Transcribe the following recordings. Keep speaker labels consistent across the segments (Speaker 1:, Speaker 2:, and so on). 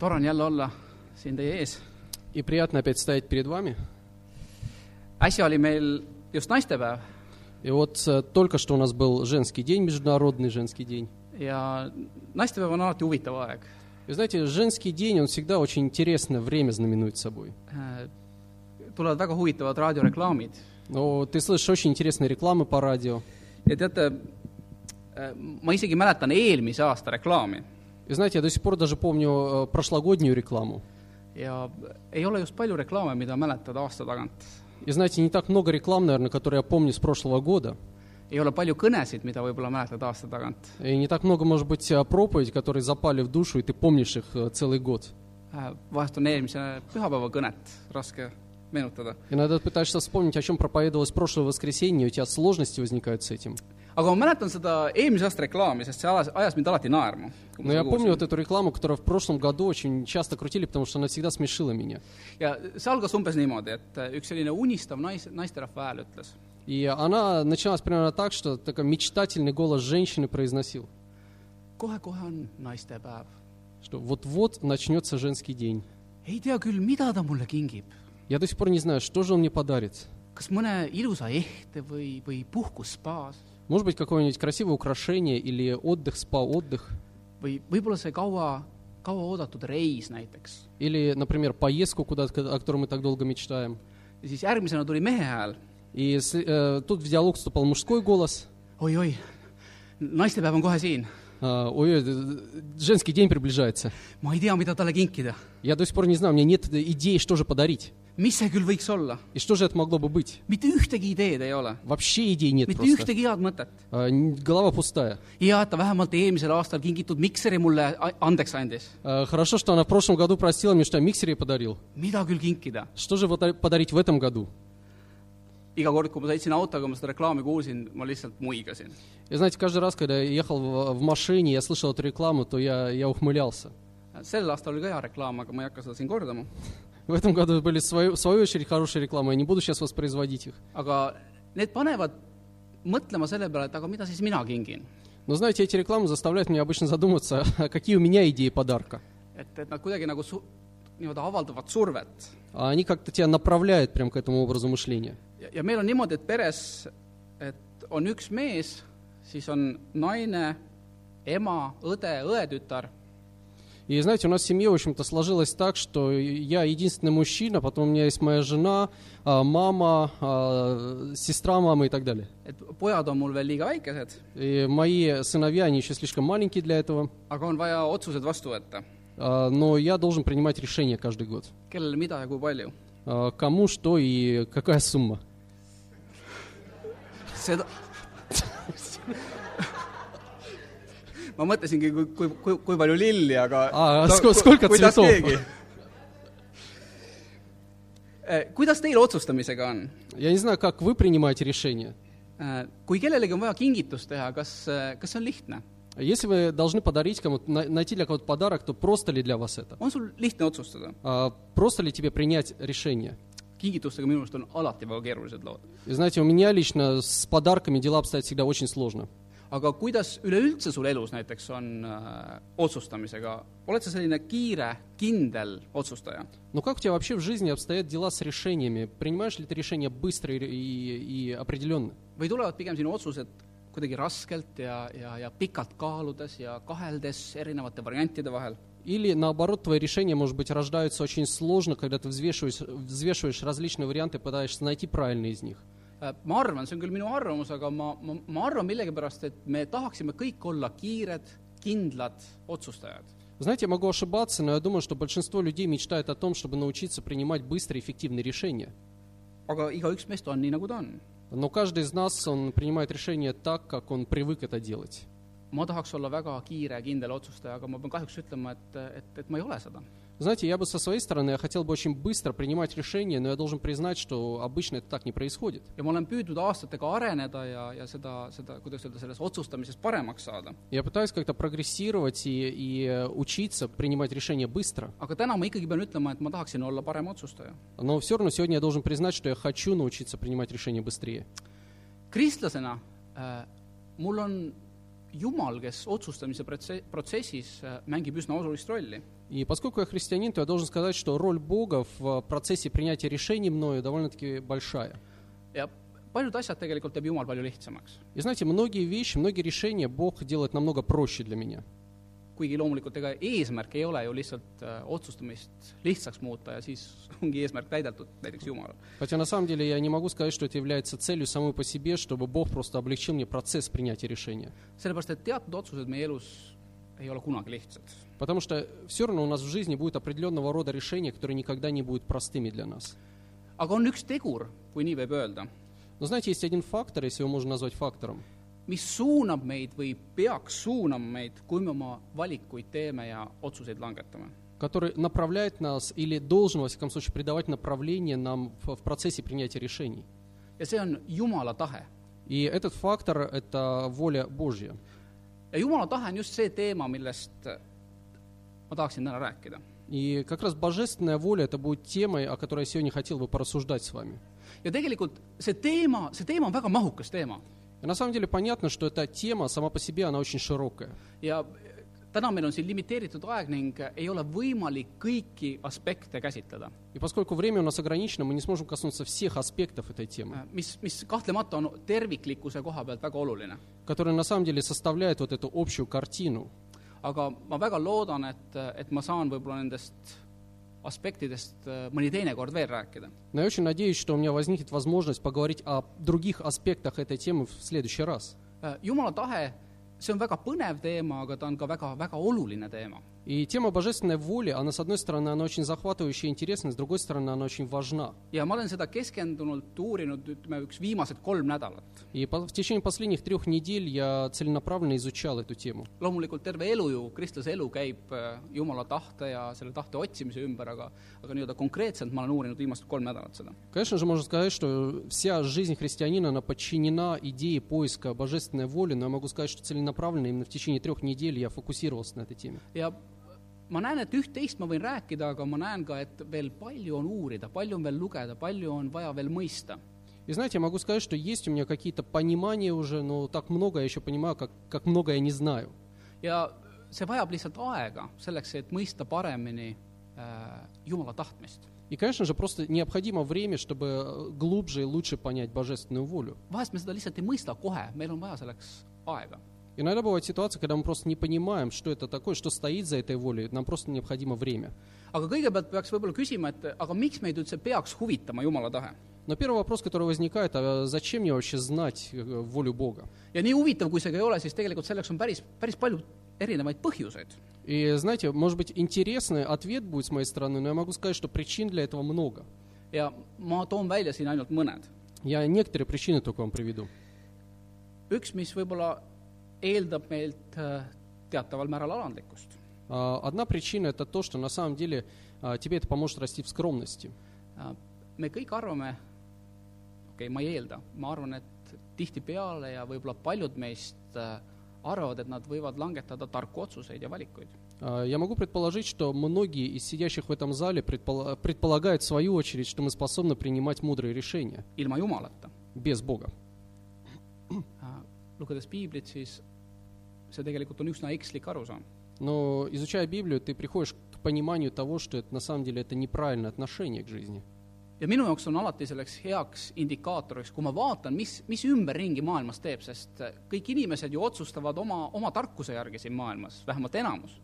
Speaker 1: tore on jälle olla siin teie ees .
Speaker 2: И приятно опять стоять перед вами.
Speaker 1: äsja oli meil just naistepäev
Speaker 2: И вот э, только что у нас был женский день, международный женский день.
Speaker 1: ja naistepäev on alati huvitav aeg .
Speaker 2: И знаете, женский день, он всегда очень интересное время знаменует собой.
Speaker 1: Äh, tulevad väga huvitavad raadioreklaamid
Speaker 2: Но ты слышишь очень интересные рекламы по радио.
Speaker 1: ja teate , ma isegi mäletan eelmise aasta reklaami
Speaker 2: И знаете, я до сих пор даже помню э, прошлогоднюю рекламу.
Speaker 1: ja ei ole just palju reklaame , mida mäletada aasta tagant .
Speaker 2: И знаете, не так много реклам, наверное, которые я помню с прошлого года.
Speaker 1: ei ole palju kõnesid , mida võib-olla mäletad aasta tagant .
Speaker 2: И не так много, может быть, э, проповедей, которые запали в душу, и ты помнишь их э, целый год.
Speaker 1: Äh, vahest on eelmise pühapäeva kõnet raske meenutada .
Speaker 2: Иногда ты пытаешься вспомнить, о чем проповедовалось прошлое воскресенье, и у тебя сложности возникают с этим.
Speaker 1: aga ma mäletan seda eelmise aasta reklaami , sest see ajas , ajas mind alati naerma .
Speaker 2: Но я помню вот эту рекламу, которую в прошлом году очень часто крутили, потому что она всегда смешила меня.
Speaker 1: ja see algas umbes niimoodi , et äh, üks selline unistav nais , naisterahva hääl ütles .
Speaker 2: И она начиналась примерно так, что такой мечтательный голос женщины произносил,
Speaker 1: kohe-kohe on naistepäev .
Speaker 2: что вот-вот начнется женский день.
Speaker 1: ei tea küll , mida ta mulle kingib .
Speaker 2: Я до сих пор не знаю, что же он мне подарит.
Speaker 1: kas mõne ilusa ehte või , või puhkus spaas
Speaker 2: Может быть, какое-нибудь красивое украшение или отдых, спа-отдых.
Speaker 1: või võib-olla see kaua , kauaoodatud reis näiteks .
Speaker 2: Или, например, поездку куда-то, о которой мы так долго мечтаем.
Speaker 1: ja siis järgmisena tuli mehe hääl .
Speaker 2: И с- э, тут в диалог вступал мужской голос.
Speaker 1: oi-oi , naistepäev on kohe siin .
Speaker 2: А, Ой, э, э, женский день приближается.
Speaker 1: ma ei tea , mida talle kinkida .
Speaker 2: Я до сих пор не знаю, у меня нет идеи, что же подарить.
Speaker 1: mis see küll võiks olla ?
Speaker 2: И что же это могло бы быть?
Speaker 1: mitte ühtegi ideed ei ole ,
Speaker 2: Вообще идей нет
Speaker 1: mitte
Speaker 2: просто.
Speaker 1: ühtegi head mõtet .
Speaker 2: А, н- Голова пустая.
Speaker 1: hea , et ta vähemalt eelmisel aastal kingitud mikseri mulle a- andeks andis .
Speaker 2: А, Хорошо, что она в прошлом году простила мне, что я миксер ей подарил.
Speaker 1: mida küll kinkida ?
Speaker 2: Что же пода- подарить в этом году?
Speaker 1: iga kord , kui ma sõitsin autoga , ma seda reklaami kuulsin , ma lihtsalt muigasin .
Speaker 2: И знаете, каждый раз, когда я ехал в, в машине, я слышал эту рекламу, то я, я ухмылялся.
Speaker 1: sel aastal oli ka hea reklaam , aga ma ei hakka seda siin kordama .
Speaker 2: В этом году были свою, в свою очередь хорошие рекламы, я не буду сейчас воспроизводить их.
Speaker 1: aga need panevad mõtlema selle peale , et aga mida siis mina kingin .
Speaker 2: Но знаете, эти рекламы заставляют меня обычно задуматься, а какие у меня идеи подарка.
Speaker 1: et , et nad kuidagi nagu su- , nii-öelda avaldavad survet .
Speaker 2: А Они как-то тебя направляют прям к этому образу мышления.
Speaker 1: ja , ja meil on niimoodi , et peres , et on üks mees , siis on naine , ema , õde , õetütar
Speaker 2: И знаете, у нас в семье, в общем-то, сложилось так, что я единственный мужчина, потом у меня есть моя жена, а, мама, а, сестра мамы и так далее.
Speaker 1: et pojad on mul veel liiga väikesed ,
Speaker 2: И мои сыновья, они еще слишком маленькие для этого,
Speaker 1: aga on vaja otsused vastu võtta ,
Speaker 2: а, но я должен принимать решения каждый год.
Speaker 1: kellele mida ja kui palju .
Speaker 2: А, Кому что и какая сумма.
Speaker 1: seda ma mõtlesingi , kui , kui , kui , kui palju lilli , aga
Speaker 2: Aa, sko- skolka
Speaker 1: kuidas
Speaker 2: цветов?
Speaker 1: keegi . kuidas teil otsustamisega on ?
Speaker 2: Я не знаю, как вы принимаете решения.
Speaker 1: Kui kellelegi on vaja kingitust teha , kas , kas see on lihtne ?
Speaker 2: Если вы должны подарить кому-то, на- найти для кого-то подарок, то просто ли для вас это?
Speaker 1: on sul lihtne otsustada ?
Speaker 2: А, Просто ли тебе принять решение?
Speaker 1: kingitustega minu arust on alati väga keerulised lood .
Speaker 2: И знаете, у меня лично с подарками дела обстоят всегда очень сложно.
Speaker 1: aga kuidas üleüldse sul elus näiteks on äh, otsustamisega , oled sa selline kiire , kindel otsustaja ?
Speaker 2: Но как у тебя вообще в жизни обстоят дела с решениями? Принимаешь ли ты решения быстро и, и- и определенно?
Speaker 1: või tulevad pigem sinu otsused kuidagi raskelt ja , ja , ja pikalt kaaludes ja kaheldes erinevate variantide vahel ?
Speaker 2: Или наоборот, твои решения, может быть, рождаются очень сложно, когда ты взвешиваешь, взвешиваешь различные варианты, пытаешься найти правильный из них.
Speaker 1: Äh, ma arvan , see on küll minu arvamus , aga ma , ma , ma arvan millegipärast , et me tahaksime kõik olla kiired , kindlad otsustajad .
Speaker 2: Знаете, я могу ошибаться, но я думаю, что большинство людей мечтает о том, чтобы научиться принимать быстрые и эффективные решения.
Speaker 1: aga igaüks meist on nii , nagu ta on .
Speaker 2: Но каждый из нас, он принимает решения так, как он привык это делать.
Speaker 1: ma tahaks olla väga kiire ja kindel otsustaja , aga ma pean kahjuks ütlema , et , et , et ma ei ole seda .
Speaker 2: Знаете, я бы со своей стороны, я хотел бы очень быстро принимать решения, но я должен признать, что обычно это так не происходит.
Speaker 1: ja ma olen püüdnud aastatega areneda ja , ja seda , seda , kuidas öelda , selles otsustamises paremaks saada .
Speaker 2: Я пытаюсь как-то прогрессировать и, и, э, учиться принимать решения быстro,
Speaker 1: aga täna ma ikkagi pean ütlema , et ma tahaksin olla parem otsustaja .
Speaker 2: но все равно сегодня я должен признать, что я хочу научиться принимать решения быстрее.
Speaker 1: kristlasena äh, mul on Jumal , kes otsustamise protse- , protsessis äh, mängib üsna olulist rolli .
Speaker 2: И поскольку я христианин, то я должен сказать, что роль Бога в э, процессе принятия решений мною довольно-таки большая.
Speaker 1: ja paljud asjad tegelikult teeb Jumal palju lihtsamaks .
Speaker 2: И знаете, многие вещи, многие решения Бог делает намного проще для меня.
Speaker 1: kuigi loomulikult ega eesmärk ei ole ju lihtsalt äh, otsustamist lihtsaks muuta ja siis ongi eesmärk täidetud näiteks Jumalal .
Speaker 2: Хотя на самом деле я не могу сказать, что это является целью самой по себе, чтобы Бог просто облегчил мне процесс принятия решения.
Speaker 1: sellepärast , et teatud otsused meie elus ei ole kunagi lihtsad .
Speaker 2: Потому что все равно у нас в жизни будет определенного рода решения, которые никогда не будут простыми для нас.
Speaker 1: aga on üks tegur , kui nii võib öelda ,
Speaker 2: Но знаете, есть один фактор, если его можно назвать фактором,
Speaker 1: mis suunab meid või peaks suunama meid , kui me oma valikuid teeme ja otsuseid langetame .
Speaker 2: который направляет нас или должен, во всяком случае, придавать направление нам в, в процессе принятия решений.
Speaker 1: ja see on Jumala tahe .
Speaker 2: И этот фактор – это воля Божья.
Speaker 1: ja Jumala tahe on just see teema , millest ma tahaksin täna rääkida .
Speaker 2: И как раз божественная воля – это будет темой, о которой я сегодня хотел бы порассуждать с вами.
Speaker 1: ja tegelikult see teema , see teema on väga mahukas teema
Speaker 2: И на самом деле понятно, что эта тема сама по себе, она очень широкая.
Speaker 1: ja täna meil on siin limiteeritud aeg ning ei ole võimalik kõiki aspekte käsitleda ,
Speaker 2: И поскольку время у нас ограничено, мы не сможем коснуться всех аспектов этой темы,
Speaker 1: mis , mis kahtlemata on terviklikkuse koha pealt väga oluline .
Speaker 2: которая на самом деле составляет вот эту общую картину.
Speaker 1: aga ma väga loodan , et , et ma saan võib-olla nendest aspektidest äh, mõni teinekord veel rääkida .
Speaker 2: Но я очень надеюсь, что у меня возникнет возможность поговорить о других аспектах этой темы в следующий раз.
Speaker 1: Äh, jumala tahe , see on väga põnev teema , aga ta on ka väga , väga oluline teema .
Speaker 2: И тема божественной воли, она, с одной стороны, она очень захватывающая и интересная, с другой стороны, она очень важна.
Speaker 1: ja ma olen seda keskendunult uurinud , ütleme , üks viimased kolm nädalat .
Speaker 2: И по- в течение последних трех недель я целенаправленно изучал эту тему.
Speaker 1: loomulikult terve elu ju , kristlase elu käib äh, jumala tahte ja selle tahte otsimise ümber , aga aga nii-öelda konkreetselt ma olen uurinud viimased kolm nädalat seda .
Speaker 2: Конечно же, можно сказать, что вся жизнь христианина, она подчинена идее поиска божественной воли, но я могу сказать, что целенаправленно именно в течение трех недель я фокусировался на этой теме.
Speaker 1: ja ma näen , et üht-teist ma võin rääkida , aga ma näen ka , et veel palju on uurida , palju on veel lugeda , palju on vaja veel mõista .
Speaker 2: И знаете, я могу сказать, что есть у меня какие-то понимания уже, но так много я еще понимаю, как, как много я не знаю.
Speaker 1: ja see vajab lihtsalt aega selleks , et mõista paremini äh, Jumala tahtmist .
Speaker 2: И, конечно же, просто необходимо время, чтобы э, глубже и лучше понять божественную волю.
Speaker 1: vahest me seda lihtsalt ei mõista kohe , meil on vaja selleks aega .
Speaker 2: Иногда бывают ситуации, когда мы просто не понимаем, что это такое, что стоит за этой волей, нам просто необходимо время.
Speaker 1: aga kõigepealt peaks võib-olla küsima , et aga miks meid üldse peaks huvitama Jumala tahe ?
Speaker 2: Но первый вопрос, который возникает, а зачем мне вообще знать э, волю Бога?
Speaker 1: ja nii huvitav , kui see ka ei ole , siis tegelikult selleks on päris , päris palju erinevaid põhjuseid .
Speaker 2: И, знаете, может быть, интересный ответ будет с моей стороны, но я могу сказать, что причин для этого много.
Speaker 1: ja ma toon välja siin ainult mõned .
Speaker 2: Я некоторые причины только вам приведу.
Speaker 1: üks , mis võib-olla eeldab meilt äh, teataval määral alandlikkust .
Speaker 2: А, Одна причина – это то, что на самом деле а, тебе это поможет расти в скромности.
Speaker 1: Äh, me kõik arvame , okei okay, , ma ei eelda , ma arvan , et tihtipeale ja võib-olla paljud meist äh, arvavad , et nad võivad langetada tarku otsuseid ja valikuid .
Speaker 2: А, Я могу предположить, что многие из сидящих в этом зале предпола- предполагают, в свою очередь, что мы способны принимать мудрые решения
Speaker 1: ilma Jumalata .
Speaker 2: без Бога.
Speaker 1: Äh, lugedes piiblit , siis see tegelikult on üsna ekslik arusaam .
Speaker 2: Но изучая Библию, ты приходишь к пониманию того, что это на самом деле это неправильное отношение к жизни.
Speaker 1: ja minu jaoks on alati selleks heaks indikaatoriks , kui ma vaatan , mis , mis ümberringi maailmas teeb , sest äh, kõik inimesed ju otsustavad oma , oma tarkuse järgi siin maailmas , vähemalt enamus .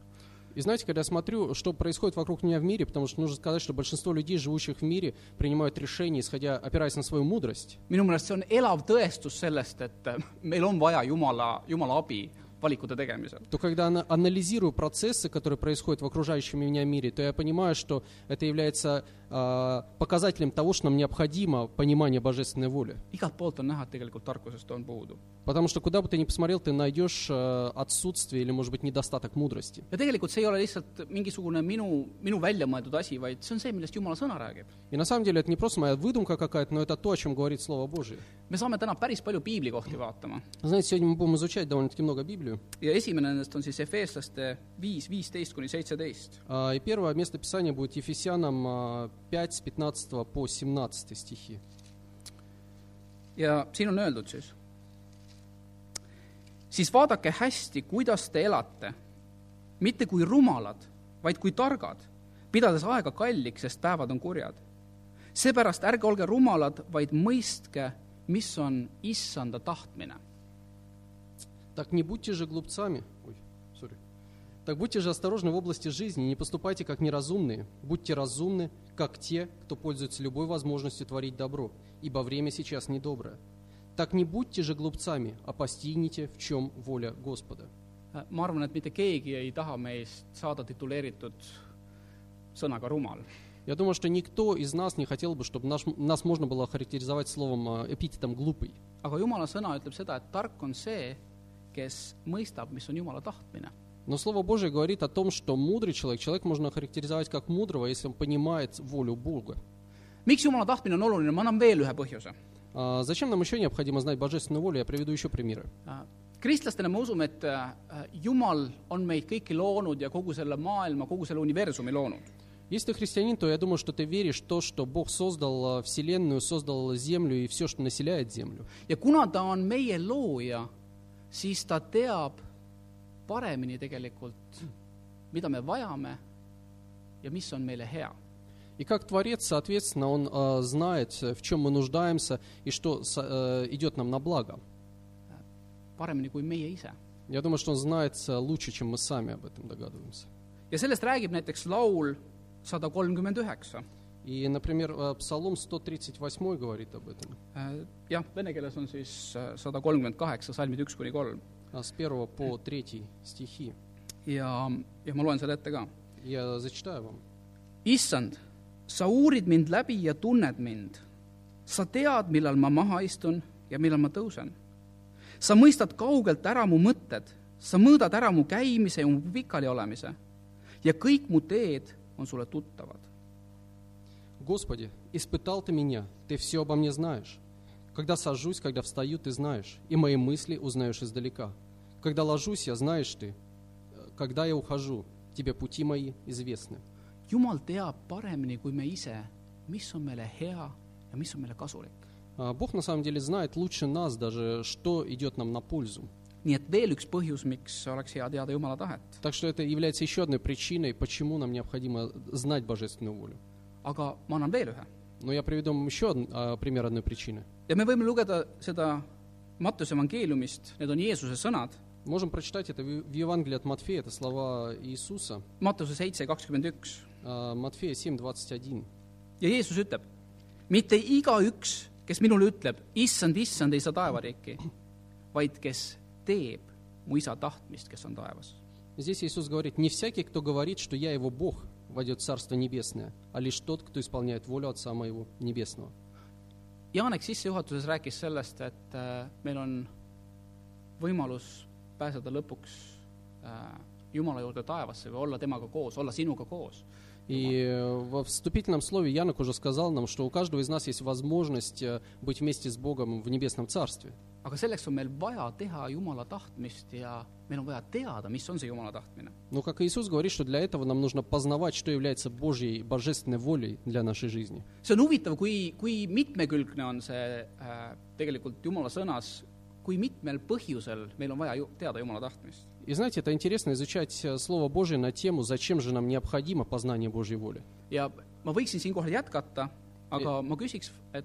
Speaker 2: И знаете, когда я смотрю, что происходит вокруг меня в мире, потому что нужно сказать, что большинство людей, живущих в мире, принимают решения, исходя, опираясь на свою мудрость.
Speaker 1: minu meelest see on elav tõestus sellest , et äh, meil on vaja Jumala , Jumala abi valikute tegemisel .
Speaker 2: то когда ана- анализирую процессы, которые происходят в окружающем меня мире, то я понимаю, что это является а, показателем того, что нам необходимо понимание божественной воли.
Speaker 1: igalt poolt on näha , et tegelikult tarkusest on puudu .
Speaker 2: Потому что куда бы ты ни посмотрел, ты найдешь э, отсутствие или, может быть, недостаток мудрости.
Speaker 1: ja tegelikult see ei ole lihtsalt mingisugune minu , minu välja mõeldud asi , vaid see on see , millest Jumala sõna räägib .
Speaker 2: И на самом деле это не просто моя выдумка какая-то, но это то, о чем говорит Слово Божье.
Speaker 1: me saame täna päris palju piibli kohti vaatama
Speaker 2: Знаете, сегодня мы будем изучать довольно-таки много Библию.
Speaker 1: ja esimene nendest on siis Efeeslaste viis , viisteist kuni seitseteist .
Speaker 2: А, и первое место Писания будет Ефесянам а, 5, с 15 по 17 стихи.
Speaker 1: ja siin on öeldud siis . siis vaadake hästi, kuidas te elate. mitte kui rumalad, vaid kui targad, pidades aega kalliks, sest päevad on kurjad. seepärast ärge olge rumalad, vaid mõistke, mis on issanda tahtmine.
Speaker 2: Так не будьте же глупцами. Ой, sorry. Так будьте же осторожны в области жизни, не поступайте как неразумные. Будьте разумны, как те, кто пользуется любой возможностью творить добро, ибо время сейчас недоброе. Так не будьте же глупцами, а постигните, в чем воля Господа.
Speaker 1: ma arvan, et mitte keegi ei taha meist saada tituleeritud sõnaga rumal.
Speaker 2: Я думаю, что никто из нас не хотел бы, чтобы наш- нас можно было охарактеризовать словом, э, эпитетом «глупый».
Speaker 1: aga Jumala sõna ütleb seda, et tark on see, kes mõistab, mis on Jumala tahtmine.
Speaker 2: Но Слово Божие говорит о том, что мудрый человек, человек можно охарактеризовать как мудрого, если он понимает волю Бога.
Speaker 1: miks Jumala tahtmine on oluline, ma annan veel ühe põhjuse
Speaker 2: А зачем нам еще необходимо знать божественную волю? Я привеdu еще примеры.
Speaker 1: Äh, kristlastena me usume, et äh, Jumal on meid kõiki loonud ja kogu selle maailma, kogu selle universumi loonud.
Speaker 2: Если ты христианин, то я думаю, что ты веришь в то, что Бог создал э, Вселенную, создал Землю и все, что населяет Землю.
Speaker 1: ja kuna ta on meie looja, siis ta teab paremini tegelikult, mida me vajame ja mis on meile hea.
Speaker 2: И как Творец, соответственно, Он э, знает, э, в чем мы нуждаемся и что со- э, идет нам на благо.
Speaker 1: paremini kui meie ise.
Speaker 2: Я думаю, что Он знает э, лучше, чем мы сами об этом догадываемся.
Speaker 1: ja sellest räägib näiteks laul sada kolmkümmend üheksa.
Speaker 2: И, например, э, Псалом 138 говорит об этом.
Speaker 1: Äh, Jah, vene keeles on siis sada kolmkümmend kaheksa, salmid üks kuni kolm.
Speaker 2: А, с 1 по 3 стихи.
Speaker 1: ja , ja ma loen selle ette ka
Speaker 2: Я зачитаю вам.
Speaker 1: issand , sa uurid mind läbi ja tunned mind . sa tead , millal ma maha istun ja millal ma tõusen . sa mõistad kaugelt ära mu mõtted , sa mõõdad ära mu käimise ja mu pikali olemise ja kõik mu teed on sulle tuttavad .
Speaker 2: Господи, испытал ты меня, ты все обо мне знаешь. Когда сажусь, когда встаю, ты знаешь, и мои мысли узнаешь издалека. Когда ложусь, я знаешь ты. Э, Когда я ухожу, тебе пути мои известны.
Speaker 1: jumal teab paremini kui me ise , mis on meile hea ja mis on meile kasulik .
Speaker 2: А Бог на самом деле знает лучше нас даже, что идет нам на пользу.
Speaker 1: nii et veel üks põhjus , miks oleks hea teada Jumala tahet .
Speaker 2: Так что это является еще одной причиной, почему нам необходимо знать божественную волю.
Speaker 1: aga ma annan veel ühe .
Speaker 2: Но я приведу вам еще од- а, пример одной причины.
Speaker 1: ja me võime lugeda seda Mattuse evangeeliumist , need on Jeesuse sõnad
Speaker 2: Можем прочитать это в Ев- в Евангелии от Матфея, это слова Иисуса.
Speaker 1: Mattuse seitse kakskümmend üks
Speaker 2: А, Матфея 7, 21.
Speaker 1: ja Jeesus ütleb , mitte igaüks , kes minule ütleb , issand , issand , ei saa taevariiki , vaid kes teeb mu isa tahtmist , kes on taevas .
Speaker 2: Здесь Иисус говорит, не всякий, кто говорит, что я его Бог, войдет в Царство Небесное, а лишь тот, кто исполняет волю Отца Моего Небесного.
Speaker 1: Janek sissejuhatuses rääkis sellest , et äh, meil on võimalus pääseda lõpuks äh, Jumala juurde taevasse või olla temaga koos , olla sinuga koos .
Speaker 2: И э, во вступительном слове Янок уже сказал нам, что у каждого из нас есть возможность э, быть вместе с Богом в Небесном Царстве.
Speaker 1: aga selleks on meil vaja teha Jumala tahtmist ja meil on vaja teada , mis on see Jumala tahtmine .
Speaker 2: Но, как Иисус говорит, что для этого нам нужно познавать, что является Божьей, божественной волей для нашей жизни.
Speaker 1: see on huvitav , kui , kui mitmekülgne on see äh, tegelikult Jumala sõnas , kui mitmel põhjusel meil on vaja ju teada Jumala tahtmist .
Speaker 2: И знаете, это интересно изучать э, Слово Божие на тему, зачем же нам необходимо познание Божьей воли.
Speaker 1: ja ma võiksin siinkohal jätkata , aga ma küsiks , et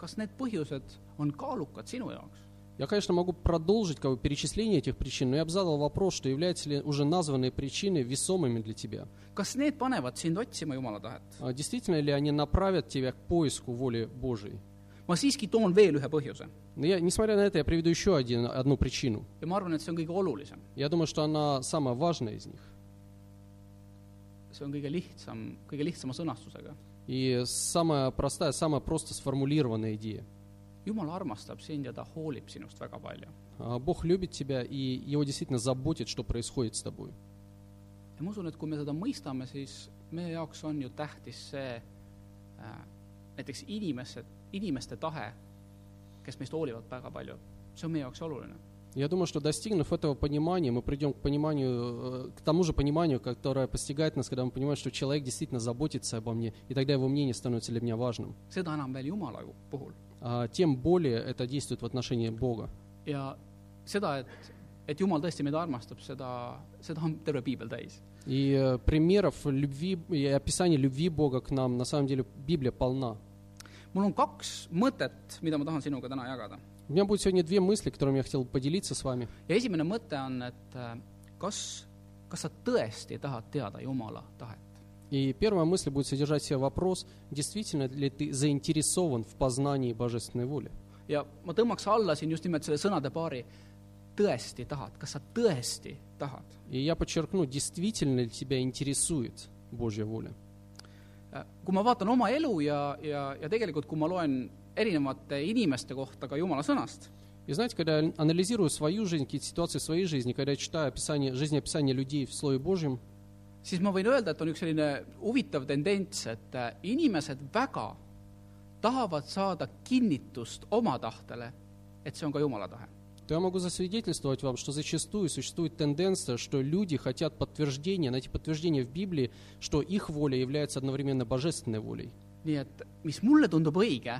Speaker 1: kas need põhjused on kaalukad sinu jaoks ?
Speaker 2: Я, конечно, могу продолжить как бы, перечисление этих причин, но я бы задал вопрос, что являются ли уже названные причины весомыми для тебя?
Speaker 1: kas need panevad sind otsima Jumala tahet ?
Speaker 2: А Действительно ли они направят тебя к поиску воли Божией?
Speaker 1: ma siiski toon veel ühe põhjuse
Speaker 2: Но я, несмотря на это, я приведу еще один, одну причину.
Speaker 1: ja ma arvan , et see on kõige olulisem .
Speaker 2: Я думаю, что она самая важная из них.
Speaker 1: see on kõige lihtsam , kõige lihtsama sõnastusega .
Speaker 2: И самая простая, самая просто сформулированная идея.
Speaker 1: Jumal armastab sind ja ta hoolib sinust väga palju .
Speaker 2: А Бог любит тебя, и Его действительно заботит, что происходит с тобой.
Speaker 1: ja ma usun , et kui me seda mõistame , siis meie jaoks on ju tähtis see äh, näiteks inimesed , inimeste tahe , kes meist hoolivad väga palju , see on meie jaoks oluline .
Speaker 2: Я думаю, что достигнув этого понимания, мы придем к пониманию, э, к тому же пониманию, которое постигает нас, когда мы понимаем, что человек действительно заботится обо мне, и тогда его мнение становится для меня важным.
Speaker 1: seda enam veel Jumala ju- puhul
Speaker 2: А Тем более это действует в отношении Бога.
Speaker 1: ja seda , et et Jumal tõesti meid armastab , seda , seda on terve piibel täis .
Speaker 2: И э, примеров любви и описаний любви Бога к нам, на самом деле, Библия полна.
Speaker 1: mul on kaks mõtet , mida ma tahan sinuga täna jagada .
Speaker 2: У меня будет сегодня две мысли, которыми я хотел поделиться с вами.
Speaker 1: ja esimene mõte on , et äh, kas , kas sa tõesti tahad teada Jumala tahet ?
Speaker 2: И первая мысль будет содержать в себе вопрос, действительно ли ты заинтересован в познании божественной воли.
Speaker 1: ja ma tõmbaks alla siin just nimelt selle sõnade paari , tõesti tahad , kas sa tõesti tahad ?
Speaker 2: И я подчеркну, действительно ли тебя интересует Божья воля.
Speaker 1: Äh, kui ma vaatan oma elu ja , ja , ja tegelikult kui ma loen erinevate inimeste kohta ka Jumala sõnast ,
Speaker 2: И знаете, когда я анализирую свою жизнь, какие-то ситуации в своей жизни, когда я читаю описание, жизнеописание людей в Слове Божьем,
Speaker 1: siis ma võin öelda , et on üks selline huvitav tendents , et äh, inimesed väga tahavad saada kinnitust oma tahtele , et see on ka Jumala tahe .
Speaker 2: то я могу засвидетельствовать вам, что зачастую существует тенденция, что люди хотят подтверждения, найти подтверждение в Библии, что их воля является одновременно божественной волей.
Speaker 1: nii et mis mulle tundub õige ,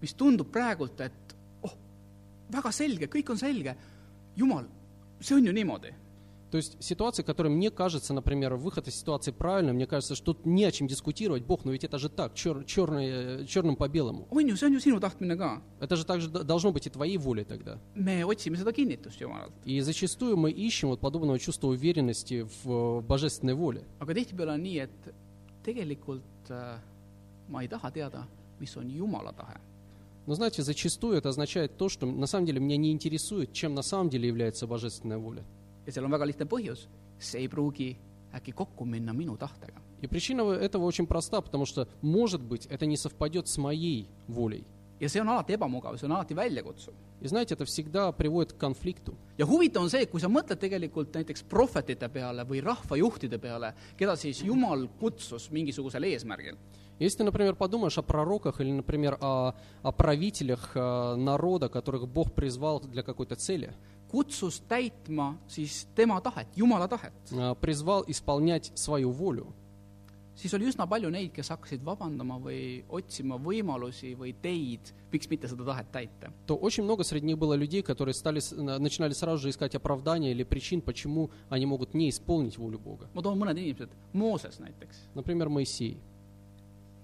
Speaker 1: mis tundub praegult , et oh , väga selge , kõik on selge , Jumal , see on ju niimoodi .
Speaker 2: То есть ситуация, которая мне кажется, например, выход из ситуации правильный, мне кажется, что тут не о чем дискутировать, Бог, но ведь это же так, чер- черное- черным по белому.
Speaker 1: on ju , see on ju sinu tahtmine ka .
Speaker 2: Это же также д- должно быть и твоей волей тогда.
Speaker 1: me otsime seda kinnitust Jumalalt ,
Speaker 2: И зачастую мы ищем вот подобного чувства уверенности в э, божественной воле.
Speaker 1: aga tihtipeale on nii , et tegelikult äh, ma ei taha teada , mis on Jumala tahe .
Speaker 2: Но знаете, зачастую это означает то, что на самом деле меня не интересует, чем на самом деле является божественная воля.
Speaker 1: ja seal on väga lihtne põhjus , see ei pruugi äkki kokku minna minu tahtega .
Speaker 2: И причина в- этого очень проста, потому что, может быть, это не совпадет с моей волей.
Speaker 1: ja see on alati ebamugav , see on alati väljakutsuv .
Speaker 2: И знаете, это всегда приводит к конфликту.
Speaker 1: ja huvitav on see , kui sa mõtled tegelikult näiteks prohvetite peale või rahvajuhtide peale , keda siis Jumal kutsus mingisugusel eesmärgil ,
Speaker 2: Если ты, например, подумаешь о пророках или, например, о, о правителях э, народа, которых Бог призвал для какой-то цели,
Speaker 1: kutsus täitma siis tema tahet , Jumala tahet ,
Speaker 2: э, призвал исполнять свою волю,
Speaker 1: siis oli üsna palju neid , kes hakkasid vabandama või otsima võimalusi või teid , miks mitte seda tahet täita .
Speaker 2: то очень много среди них было людей, которые стали, с- на- начинали сразу же искать оправдания или причин, почему они могут не исполнить волю Бога.
Speaker 1: ma toon mõned inimesed , Mooses näiteks ,
Speaker 2: Например, Моисей,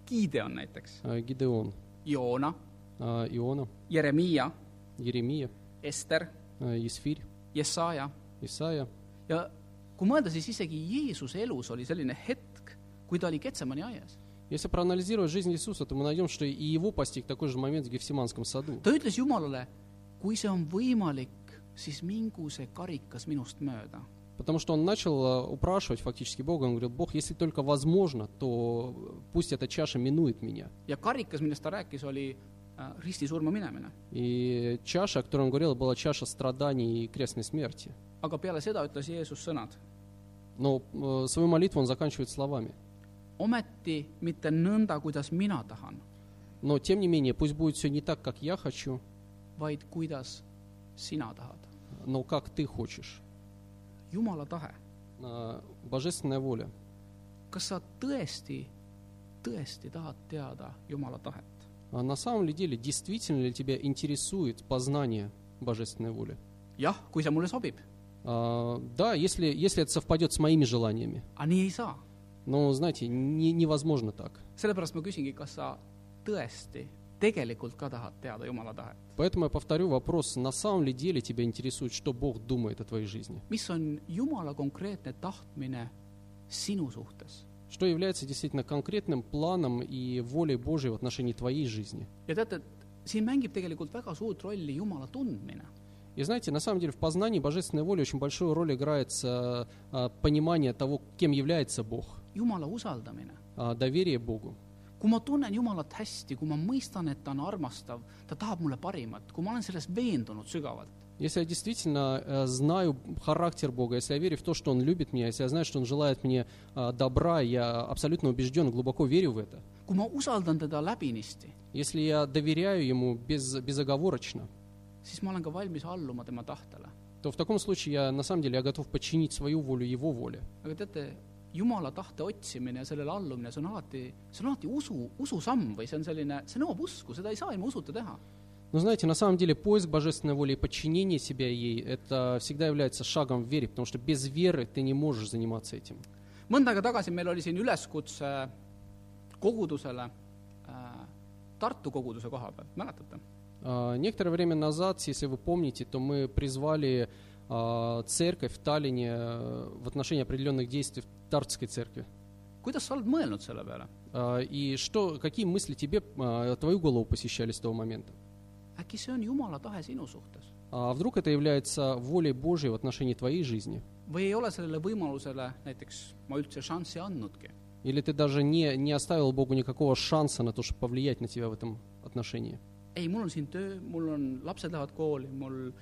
Speaker 1: Gideon näiteks ,
Speaker 2: э, Гидеон,
Speaker 1: Joona ,
Speaker 2: э, Иона,
Speaker 1: Jeremiia ,
Speaker 2: Еремия,
Speaker 1: Ester ,
Speaker 2: э, Есфирь,
Speaker 1: Jesaja
Speaker 2: Исаия.
Speaker 1: ja kui mõelda , siis isegi Jeesuse elus oli selline hetk , kui ta oli Ketsemani aias .
Speaker 2: Если проанализировать жизнь Иисуса, то мы найдем, что и его постиг такой же момент в Гефсиманском саду.
Speaker 1: ta ütles Jumalale , kui see on võimalik , siis mingu see karikas minust mööda .
Speaker 2: Потому что он начал э, упрашивать фактически Бога. Он говорил, Бог, если только возможно, то пусть эта чаша минует меня.
Speaker 1: ja karikas , millest ta rääkis , oli äh, ristisurma minemine .
Speaker 2: И чаша, о которой он говорил, была чаша страданий и крестной смерти.
Speaker 1: aga peale seda ütles Jeesus sõnad .
Speaker 2: Но э, свою молитву он заканчивает словами.
Speaker 1: ometi mitte nõnda , kuidas mina tahan ,
Speaker 2: Но, тем не менее, пусть будет все не так, как я хочу,
Speaker 1: vaid kuidas sina tahad .
Speaker 2: но как ты хочешь.
Speaker 1: Jumala tahe ,
Speaker 2: Э, Божественная воля.
Speaker 1: kas sa tõesti , tõesti tahad teada Jumala tahet ?
Speaker 2: А на самом ли деле, действительно ли тебя интересует познание божественной воли?
Speaker 1: jah , kui see mulle sobib ,
Speaker 2: А, да, если, если это совпадет с моими желаниями.
Speaker 1: aga nii ei saa .
Speaker 2: Но, знаете, не- невозможно так.
Speaker 1: sellepärast ma küsingi , kas sa tõesti tegelikult ka tahad teada Jumala tahet ?
Speaker 2: Поэтому я повторю вопрос, на самом ли деле тебя интересует, что Бог думает о твоей жизни?
Speaker 1: mis on Jumala konkreetne tahtmine sinu suhtes .
Speaker 2: Что является действительно конкретным планом и волей Божьей в отношении твоей жизни?
Speaker 1: ja teate , siin mängib tegelikult väga suurt rolli Jumala tundmine .
Speaker 2: И знаете, на самом деле в познании божественной воли очень большую роль играет э, э, понимание того, кем является Бог,
Speaker 1: Jumala usaldamine .
Speaker 2: э, доверие Богу.
Speaker 1: kui ma tunnen Jumalat hästi , kui ma mõistan , et ta on armastav , ta tahab mulle parimat , kui ma olen selles veendunud sügavalt ,
Speaker 2: Если я действительно э, знаю характер Бога, если я верю в то, что Он любит меня, если я знаю, что Он желает мне э, добра, я абсолютно убежден, глубоко верю в это.
Speaker 1: kui ma usaldan teda läbinisti ,
Speaker 2: Если я доверяю Ему без, безоговорочно,
Speaker 1: siis ma olen ka valmis alluma tema tahtele .
Speaker 2: то в таком случае я на самом деле я готов подчинить свою волю его воле.
Speaker 1: aga teate , Jumala tahte otsimine ja sellele allumine , see on alati , see on alati usu , ususamm või see on selline , see nõuab usku , seda ei saa ilma usuta teha .
Speaker 2: Но Ну, знаете, на самом деле поиск божественной воли и подчинение себя ей, это всегда является шагом в вере, потому что без веры ты не можешь заниматься этим.
Speaker 1: mõnda aega tagasi meil oli siin üleskutse kogudusele äh, Tartu koguduse koha pealt , mäletate ?
Speaker 2: А, Некоторое время назад, если вы помните, то мы призвали а, церковь в Таллине э, в отношении определенных действий в Тартской церкви.
Speaker 1: kuidas sa oled mõelnud selle peale ?
Speaker 2: А, И что, какие мысли тебе, а, твою голову посещали с того момента?
Speaker 1: äkki see on Jumala tahe sinu suhtes
Speaker 2: А вдруг это является волей Божьей в отношении твоей жизни?
Speaker 1: või ei ole sellele võimalusele näiteks ma üldse šanssi andnudki ?
Speaker 2: Или ты даже не, не оставил Богу никакого шанса на то, чтобы повлиять на тебя в этом отношении?
Speaker 1: ei , mul on siin töö , mul on , lapsed lähevad kooli , mul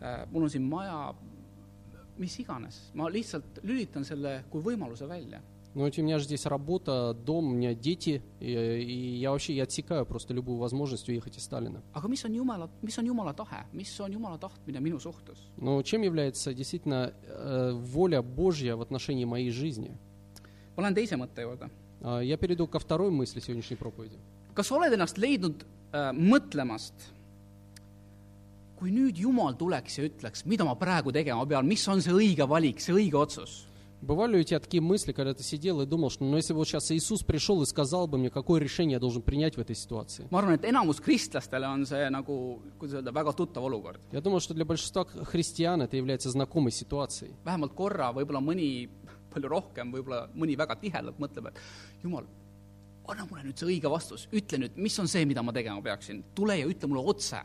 Speaker 1: äh, , mul on siin maja , mis iganes , ma lihtsalt lülitan selle kui võimaluse välja .
Speaker 2: Но ведь у меня же здесь работа, дом, у меня дети, и, и я вообще я отсекаю просто любую возможность уехать из Сталина.
Speaker 1: aga mis on Jumala , mis on Jumala tahe , mis on Jumala tahtmine minu suhtes ?
Speaker 2: Но чем является действительно э, воля Божья в отношении моей жизни?
Speaker 1: ma lähen teise mõtte juurde .
Speaker 2: А, Я перейду ко второй мысли сегодняшней проповеди.
Speaker 1: kas sa oled ennast leidnud äh, mõtlemast , kui nüüd Jumal tuleks ja ütleks , mida ma praegu tegema pean , mis on see õige valik , see õige otsus ?
Speaker 2: Бывали ли у тебя такие мысли, когда ты сидел и думал, что ну, если бы вот сейчас Иисус пришел и сказал бы мне, какое решение я должен принять в этой ситуации?
Speaker 1: ma arvan , et enamus kristlastele on see nagu , kuidas öelda , väga tuttav olukord .
Speaker 2: Я думаю, что для большинства христиан это является знакомой ситуацией.
Speaker 1: vähemalt korra , võib-olla mõni palju rohkem , võib-olla mõni väga tihedalt mõtleb , et jumal , anna mulle nüüd see õige vastus , ütle nüüd , mis on see , mida ma tegema peaksin , tule ja ütle mulle otse .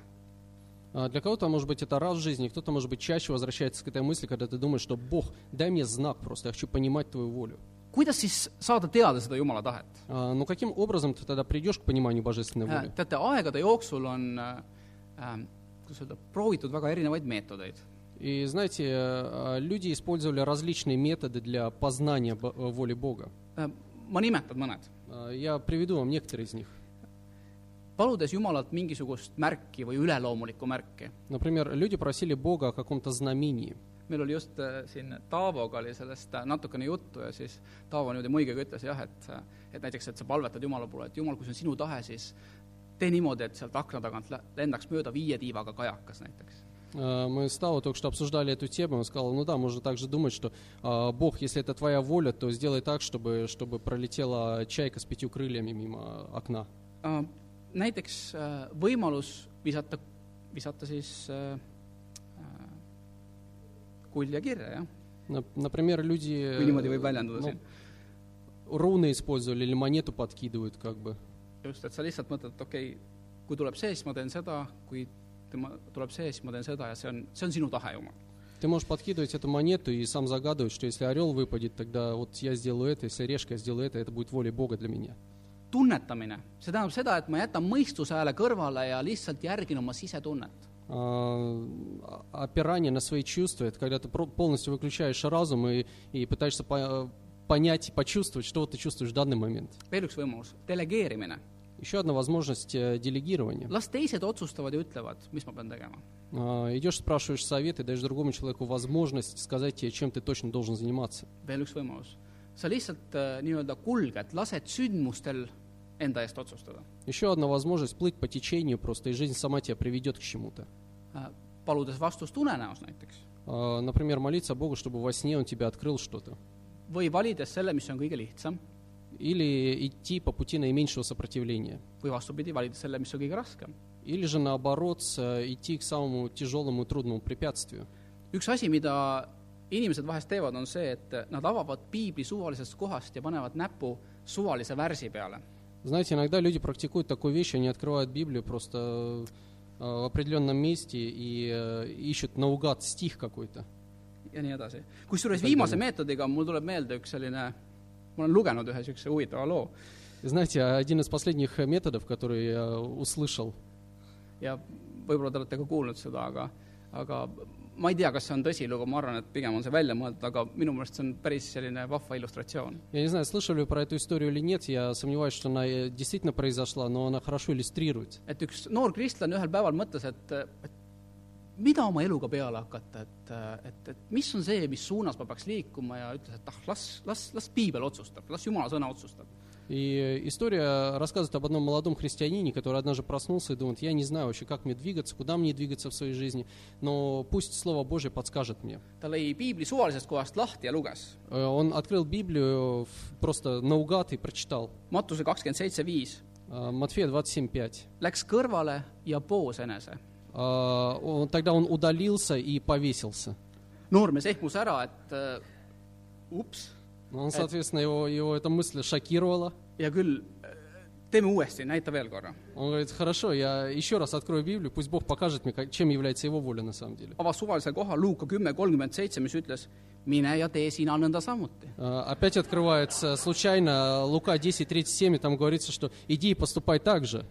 Speaker 2: А Для кого-то, может быть, это раз в жизни, кто-то, может быть, чаще возвращается к этой мысли, когда ты думаешь, что Бог, дай мне знак просто, я хочу понимать твою волю.
Speaker 1: kuidas siis saada teada seda Jumala tahet ?
Speaker 2: А, Но каким образом ты тогда придешь к пониманию божественной воли?
Speaker 1: teate , aegade jooksul on äh, , kuidas öelda , proovitud väga erinevaid meetodeid .
Speaker 2: И знаете, э, люди использовали различные методы для познания бо- э, воли Бога.
Speaker 1: Äh, ma nimetan mõned .
Speaker 2: Э, Я приведу вам некоторые из них.
Speaker 1: paludes Jumalalt mingisugust märki või üleloomulikku märki .
Speaker 2: Например, люди просили Бога о каком-то знамении.
Speaker 1: meil oli just äh, siin Taavoga oli sellest äh, natukene juttu ja siis Taavo niimoodi muigega ütles jah , et äh, et näiteks , et sa palvetad Jumala poole , et Jumal , kui see on sinu tahe , siis tee niimoodi , et sealt akna tagant lä- lendaks mööda viie tiivaga kajakas näiteks .
Speaker 2: Э, Мы с Тао только что обсуждали эту тему, он сказал, ну да, можно также думать, что а, Бог, если это твоя воля, то сделай так, чтобы, чтобы пролетела чайка с пятью крыльями мимо окна.
Speaker 1: Näiteks äh, võimalus visata , visata siis äh, äh, kulje kirja , jah ,
Speaker 2: Нап- Например, люди... э,
Speaker 1: või niimoodi võib väljenduda
Speaker 2: ну,
Speaker 1: siin .
Speaker 2: руны использовали или монету подкидывают, как бы.
Speaker 1: just , et sa lihtsalt mõtled , et okei okay, , kui tuleb see , siis ma teen seda , kui tema tuleb see , siis ma teen seda ja see on , see on sinu tahe , Jumal .
Speaker 2: Ты можешь подкидывать эту монету и сам загадывать, что если орел выпадет, тогда вот я сделаю это, если решка я сделаю это, это будет волей Бога для меня.
Speaker 1: tunnetamine , see tähendab seda , et ma jätan mõistuse hääle kõrvale ja lihtsalt järgin oma sisetunnet .
Speaker 2: А, а- Опирание на свои чувства, это когда ты про- полностью выключаешь разум и, и пытаешься по- понять и почувствовать, что ты чувствуешь в данный момент.
Speaker 1: veel üks võimalus , delegeerimine .
Speaker 2: Еще одна возможность э, делегирования.
Speaker 1: las teised otsustavad ja ütlevad , mis ma pean tegema .
Speaker 2: А, Идешь, спрашиваешь совет и даешь другому человеку возможность сказать тебе, чем ты точно должен заниматься.
Speaker 1: veel üks võimalus , sa lihtsalt äh, nii-öelda kulged , lased sündmustel enda eest otsustada .
Speaker 2: Еще одна возможность плыть по течению просто, и жизнь сама тебя приведет к чему-то.
Speaker 1: Äh, paludes vastust unenäos näiteks
Speaker 2: А, Например, молиться Богу, чтобы во сне Он тебе открыл что-то.
Speaker 1: või valides selle , mis on kõige lihtsam
Speaker 2: Или идти по пути наименьшего сопротивления.
Speaker 1: või vastupidi , valides selle , mis on kõige raskem .
Speaker 2: Или же наоборот, с- э, идти к самому тяжелому и трудному препятствию.
Speaker 1: üks asi , mida inimesed vahest teevad , on see , et nad avavad piibli suvalisest kohast ja panevad näpu suvalise värsi peale
Speaker 2: Знаете, иногда люди практикуют такую вещь, они открывают Библию просто э, в определенном месте и э, ищут наугад стих какой-то.
Speaker 1: ja nii edasi . kusjuures viimase meetodiga mul tuleb meelde üks selline , ma olen lugenud ühe niisuguse huvitava loo
Speaker 2: И Знаете, а, один из последних э, методов, который я услышал,
Speaker 1: ja võib-olla te olete ka kuulnud seda , aga , aga ma ei tea , kas see on tõsilugu , ma arvan , et pigem on see välja mõeldud , aga minu meelest see on päris selline vahva illustratsioon .
Speaker 2: я не знаю, слышали вы про эту историю или нет, я сомневаюсь, что она э, действительно произошла, но она хорошо иллюстрирует.
Speaker 1: et üks noor kristlane ühel päeval mõtles , et , et mida oma eluga peale hakata , et , et , et mis on see , mis suunas ma peaks liikuma ja ütles , et ah , las , las , las piibel otsustab , las jumala sõna otsustab .
Speaker 2: И И э, история рассказывает об одном молодом христианине, который однажды проснулся и думает, я не знаю вообще, как мне двигаться, куда мне двигаться в своей жизни, но пусть Слово Божье подскажет мне.
Speaker 1: ta lõi piibli suvalisest kohast lahti ja luges .
Speaker 2: Э, Он открыл Библию в- просто наугад и прочитал.
Speaker 1: Matuse kakskümmend seitse viis
Speaker 2: Э, Матфея 27.5.
Speaker 1: läks kõrvale ja poos enese .
Speaker 2: Э, он- Тогда он удалился и повесился.
Speaker 1: noormees ehmus ära , et äh, ups ,
Speaker 2: Ну, Он, соответственно, его, его эта мысль шокировала.
Speaker 1: hea küll , teeme uuesti , näita veel korra .
Speaker 2: Он говорит, хорошо, я еще раз открою Библию, пусть Бог покажет мне, как- чем является его воля на самом деле.
Speaker 1: avas suvalise koha Luuka kümme kolmkümmend seitse , mis ütles , mine ja tee sina nõnda samuti .
Speaker 2: Э, Опять открывается случайно Лука 10.37, и там говорится, что иди и поступай так же.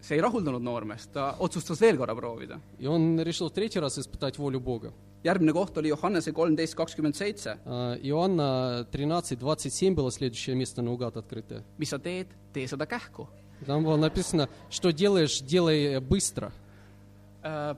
Speaker 1: see ei rahuldanud noormeest , ta otsustas veel korra proovida .
Speaker 2: И он решил в третий раз испытать волю Бога.
Speaker 1: järgmine koht oli Johannese kolmteist kakskümmend seitse ,
Speaker 2: Э, Иоанна 13.27 было следующее место наугад открытое.
Speaker 1: mis sa teed , tee seda kähku .
Speaker 2: Там было написано, что делаешь, делай э, быстро.
Speaker 1: Äh,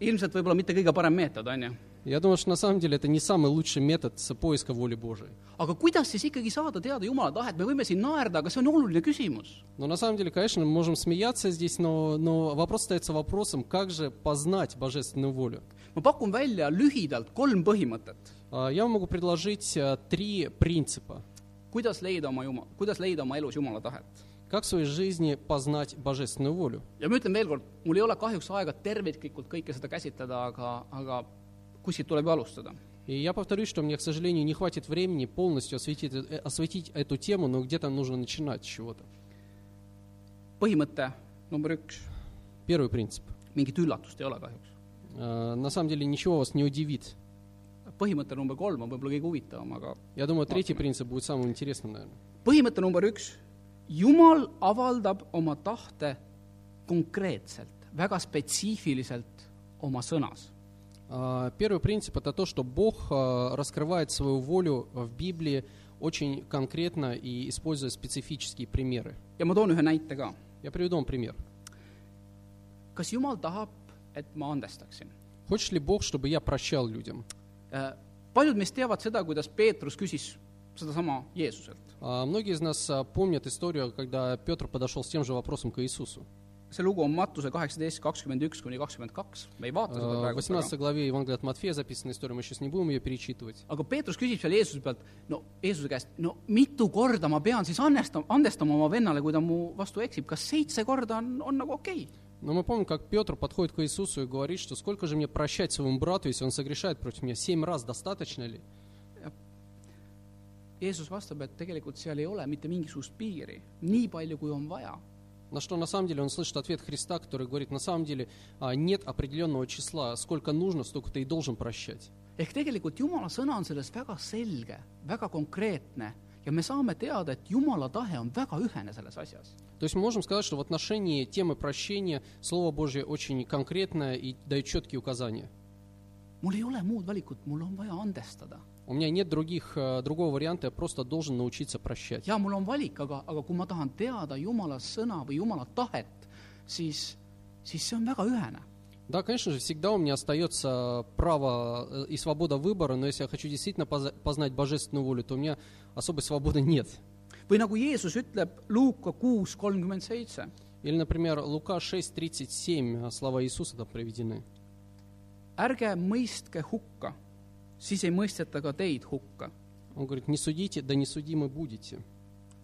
Speaker 1: ilmselt võib-olla mitte kõige parem meetod , on ju .
Speaker 2: Я думаю, что на самом деле это не самый лучший метод с- поиска воли Божией.
Speaker 1: aga kuidas siis ikkagi saada teada Jumala tahet , me võime siin naerda , aga see on oluline küsimus .
Speaker 2: Но на самом деле, конечно, мы можем смеяться здесь, но, но вопрос остается вопросом, как же познать божественную волю.
Speaker 1: ma pakun välja lühidalt kolm põhimõtet ,
Speaker 2: А, Я вам могу предложить а, три принципа.
Speaker 1: kuidas leida oma Juma- , kuidas leida oma elus Jumala tahet .
Speaker 2: Как в своей жизни познать божественную волю?
Speaker 1: ja ma ütlen veel kord , mul ei ole kahjuks aega terviklikult kõike seda käsitleda , aga , aga kuskilt tuleb ju alustada .
Speaker 2: И я повторюсь, что мне, к сожалению, не хватит времени полностью осветить, э, осветить эту тему, но где-то нужно начинать с чего-то.
Speaker 1: põhimõte number üks ,
Speaker 2: Первый принцип.
Speaker 1: mingit üllatust ei ole kahjuks .
Speaker 2: А, На самом деле ничего вас не удивит.
Speaker 1: põhimõte number kolm on võib-olla kõige huvitavam , aga
Speaker 2: Я думаю, третий принцип будет самым интересным, наверное.
Speaker 1: põhimõte number üks , Jumal avaldab oma tahte konkreetselt , väga spetsiifiliselt oma sõnas .
Speaker 2: А, Первый принцип это то, что Бог а, раскрывает свою волю в Библии очень конкретно и используя специфические примеры.
Speaker 1: ja ma toon ühe näite ka .
Speaker 2: Я приведу вам пример.
Speaker 1: kas Jumal tahab , et ma andestaksin ?
Speaker 2: Хочет ли Бог, чтобы я прощал людям?
Speaker 1: Äh, paljud meist teavad seda , kuidas Peetrus küsis sedasama Jeesuselt .
Speaker 2: А, Многие из нас а, помнят историю, когда Петр подошел с тем же вопросом к Иисусу.
Speaker 1: see lugu on Mattuse kaheksateist , kakskümmend üks kuni kakskümmend kaks , me ei
Speaker 2: Э,
Speaker 1: vaata seda
Speaker 2: В
Speaker 1: praegu
Speaker 2: 18
Speaker 1: väga .
Speaker 2: главе Евангелия от Матфея записана история, мы сейчас не будем ее перечитывать.
Speaker 1: aga Peetrus küsib seal Jeesuse pealt , no Jeesuse käest , no mitu korda ma pean siis annestama , andestama oma vennale , kui ta mu vastu eksib , kas seitse korda on , on nagu okei okay? ?
Speaker 2: Но мы помним, как Петр подходит к Иисусу и говорит, что сколько же мне прощать своему брату, если он согрешает против меня? Семь раз достаточно ли?
Speaker 1: Jeesus vastab , et tegelikult seal ei ole mitte mingisugust piiri , nii palju , kui on vaja .
Speaker 2: На что на самом деле он слышит ответ Христа, который говорит, на самом деле а, нет определенного числа, сколько нужно, столько ты и должен прощать.
Speaker 1: ehk tegelikult Jumala sõna on selles väga selge , väga konkreetne ja me saame teada , et Jumala tahe on väga ühene selles asjas .
Speaker 2: То есть мы можем сказать, что в отношении темы прощения Слово Божье очень конкретное и дает четкие указания.
Speaker 1: mul ei ole muud valikut , mul on vaja andestada .
Speaker 2: У меня нет других, э, другого варианта, я просто должен научиться прощать.
Speaker 1: jaa , mul on valik , aga , aga kui ma tahan teada Jumala sõna või Jumala tahet , siis , siis see on väga ühene .
Speaker 2: Да, конечно же, всегда у меня остается право э, и свобода выбора, но если я хочу действительно поза- познать божественную волю, то у меня особой свободы нет.
Speaker 1: või nagu Jeesus ütleb Luuka kuus kolmkümmend seitse ,
Speaker 2: Или, например, Лука 6.37, э, слова Иисуса там приведены.
Speaker 1: ärge mõistke hukka , siis ei mõisteta ka teid hukka .
Speaker 2: Он говорит, не судите, да не судимы будете.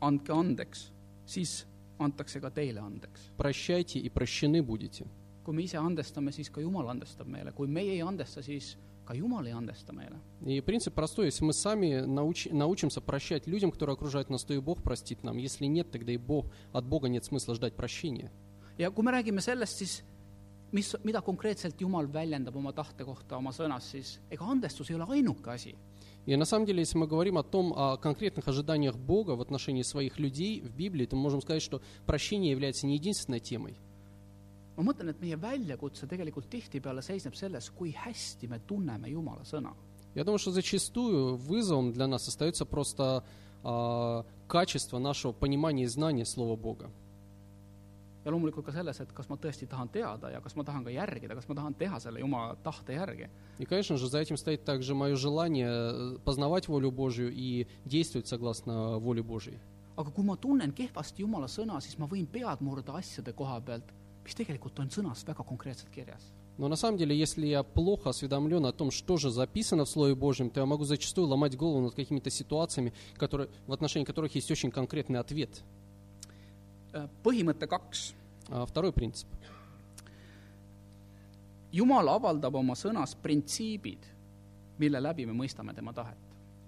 Speaker 1: andke andeks , siis antakse ka teile andeks .
Speaker 2: Прощайте и прощены будете.
Speaker 1: kui me ise andestame , siis ka Jumal andestab meile , kui meie ei andesta , siis ka Jumal ei andesta meile .
Speaker 2: И принцип простой, если мы сами науч- научимся прощать людям, которые окружают нас, то и Бог простит нам. Если нет, тогда и Бог, от Бога нет смысла ждать прощения.
Speaker 1: ja kui me räägime sellest , siis mis , mida konkreetselt Jumal väljendab oma tahte kohta oma sõnas , siis ega andestus ei ole ainuke asi .
Speaker 2: И на самом деле, если мы говорим о том, о конкретных ожиданиях Бога в отношении своих людей в Библии, то мы можем сказать, что прощение является не единственной темой.
Speaker 1: ma mõtlen , et meie väljakutse tegelikult tihtipeale seisneb selles , kui hästi me tunneme Jumala sõna .
Speaker 2: Я думаю, что зачастую вызовом для нас остается просто а, качество нашего понимания и знания Слова Бога.
Speaker 1: ja loomulikult ka selles, et kas ma tõesti tahan teada ja kas ma tahan ka järgida, kas ma tahan teha selle Jumala tahte järgi.
Speaker 2: И, конечно же, за этим стоит также мое желание э, познавать волю Божью и действовать согласно воле Божьей.
Speaker 1: aga kui ma tunnen kehvasti Jumala sõna, siis ma võin pead murda asjade koha pealt , mis tegelikult on sõnas väga konkreetselt kirjas .
Speaker 2: Но на самом деле, если я плохо осведомлен о том, что же записано в Слове Божьем, то я могу зачастую ломать голову над какими-то ситуациями, которые, в отношении которых есть очень конкретный ответ.
Speaker 1: põhimõte kaks
Speaker 2: А, Второй принцип.
Speaker 1: Jumal avaldab oma sõnas printsiibid , mille läbi me mõistame tema tahet .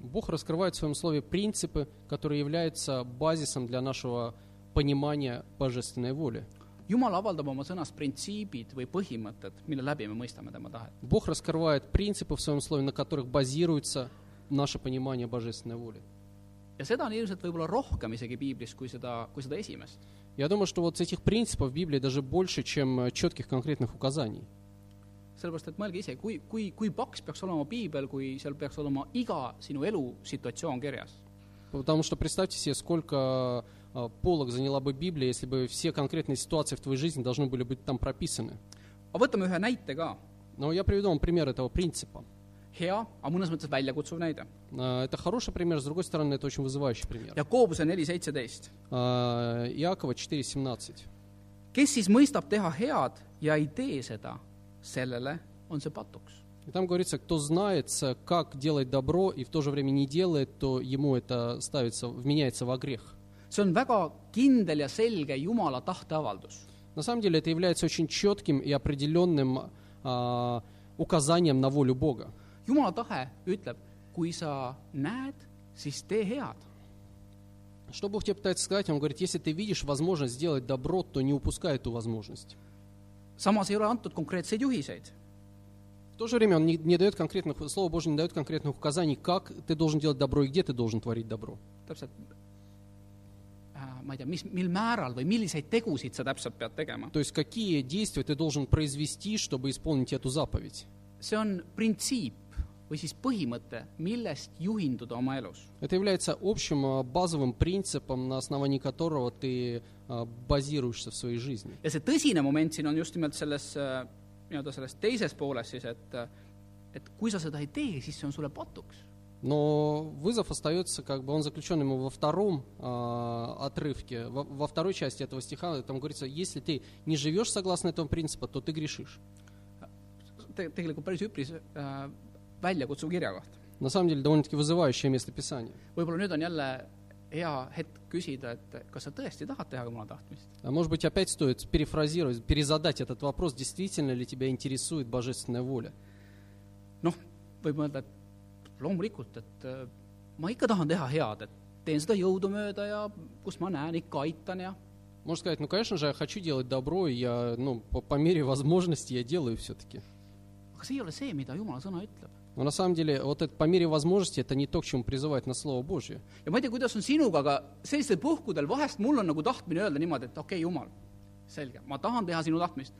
Speaker 2: Бог раскрывает в своем слове принципы, которые являются базисом для нашего понимания божественной воли.
Speaker 1: Jumal avaldab oma sõnas printsiibid või põhimõtted , mille läbi me mõistame tema tahet .
Speaker 2: Бог раскрывает принципы в своем слове, на которых базируется наше понимание божественной воли.
Speaker 1: ja seda on ilmselt võib-olla rohkem isegi piiblis , kui seda , kui seda esimest .
Speaker 2: Я думаю, что вот этих принципов в Библии даже больше, чем э, четких конкретных указаний.
Speaker 1: sellepärast , et mõelge ise , kui , kui , kui paks peaks olema piibel , kui seal peaks olema iga sinu elusituatsioon kirjas .
Speaker 2: Потому что представьте себе, сколько э, полок заняла бы Библия, если бы все конкретные ситуации в твоей жизни должны были быть там прописаны.
Speaker 1: aga võtame ühe näite ka ,
Speaker 2: Но я приведу вам пример этого принципа.
Speaker 1: hea , aga mõnes mõttes väljakutsuv näide .
Speaker 2: Э, Это хороший пример, с другой stороны, это очень вызывающий пример.
Speaker 1: Jakoobuse neli seitseteist .
Speaker 2: Э, Иакова 4.17.
Speaker 1: kes siis mõistab teha head ja ei tee seda , sellele on see patuks
Speaker 2: И там говорится, кто знает, э, как делать добро и в то же время не делает, то ему это ставится, вменяется во грех.
Speaker 1: see on väga kindel ja selge Jumala tahteavaldus .
Speaker 2: На самом деле это является очень четким и определенным э, указанием на волю Бога.
Speaker 1: Jumala tahe ütleb , kui sa näed , siis tee head .
Speaker 2: Что Бог тебе пытается сказать? Он говорит, если ты видишь возможность сделать добро, то не упускай эту возможность.
Speaker 1: samas ei ole antud konkreetseid juhiseid .
Speaker 2: В то же время он не, не дает конкретных, Слово Божье не дает конкретных указаний, как ты должен делать добро и где ты должен творить добро.
Speaker 1: täpselt äh, ma ei tea , mis , mil määral või milliseid tegusid sa täpselt pead tegema .
Speaker 2: То есть какие действия ты должен произвести, чтобы исполнить эту заповедь.
Speaker 1: see on printsiip või siis põhimõte , millest juhinduda oma elus .
Speaker 2: Это является общим э, базовым принципом, на основании которого ты э, базируешься в своей жизни.
Speaker 1: ja see tõsine moment siin on just nimelt selles äh, nii-öelda selles teises pooles siis , et äh, et kui sa seda ei tee , siis see on sulle patuks
Speaker 2: Но вызов остается, как бы он заключен ему во втором а, отрывке, во, во второй части этого стиха, там говорится, если ты не живешь согласно этому принципу, то ты грешишь.
Speaker 1: te- tegelikult päris üpris äh, väljakutsuv kirjakoht .
Speaker 2: На самом деле довольно-таки вызывающее местописание.
Speaker 1: võib-olla nüüd on jälle hea hetk küsida , et kas sa tõesti tahad teha Jumala tahtmist ?
Speaker 2: А может быть, опять стоит перефразировать, перезадать этот вопрос, действительно ли тебя интересует божественная воля.
Speaker 1: noh , võib mõelda , et loomulikult , et äh, ma ikka tahan teha head , et teen seda jõudumööda ja kus ma näen , ikka aitan ja
Speaker 2: Можно сказать, ну, конечно же, я хочу делать добро, и я, ну, по, по мере возможности я делаю все-таки.
Speaker 1: aga see ei ole see , mida Jumala sõna ütleb .
Speaker 2: Но на самом деле, вот это по мере возможности, это не то, к чему призывает на Слово Божье.
Speaker 1: ja ma ei tea , kuidas on sinuga , aga sellistel puhkudel vahest mul on nagu tahtmine öelda niimoodi , et okei okay, , Jumal , selge , ma tahan teha sinu tahtmist .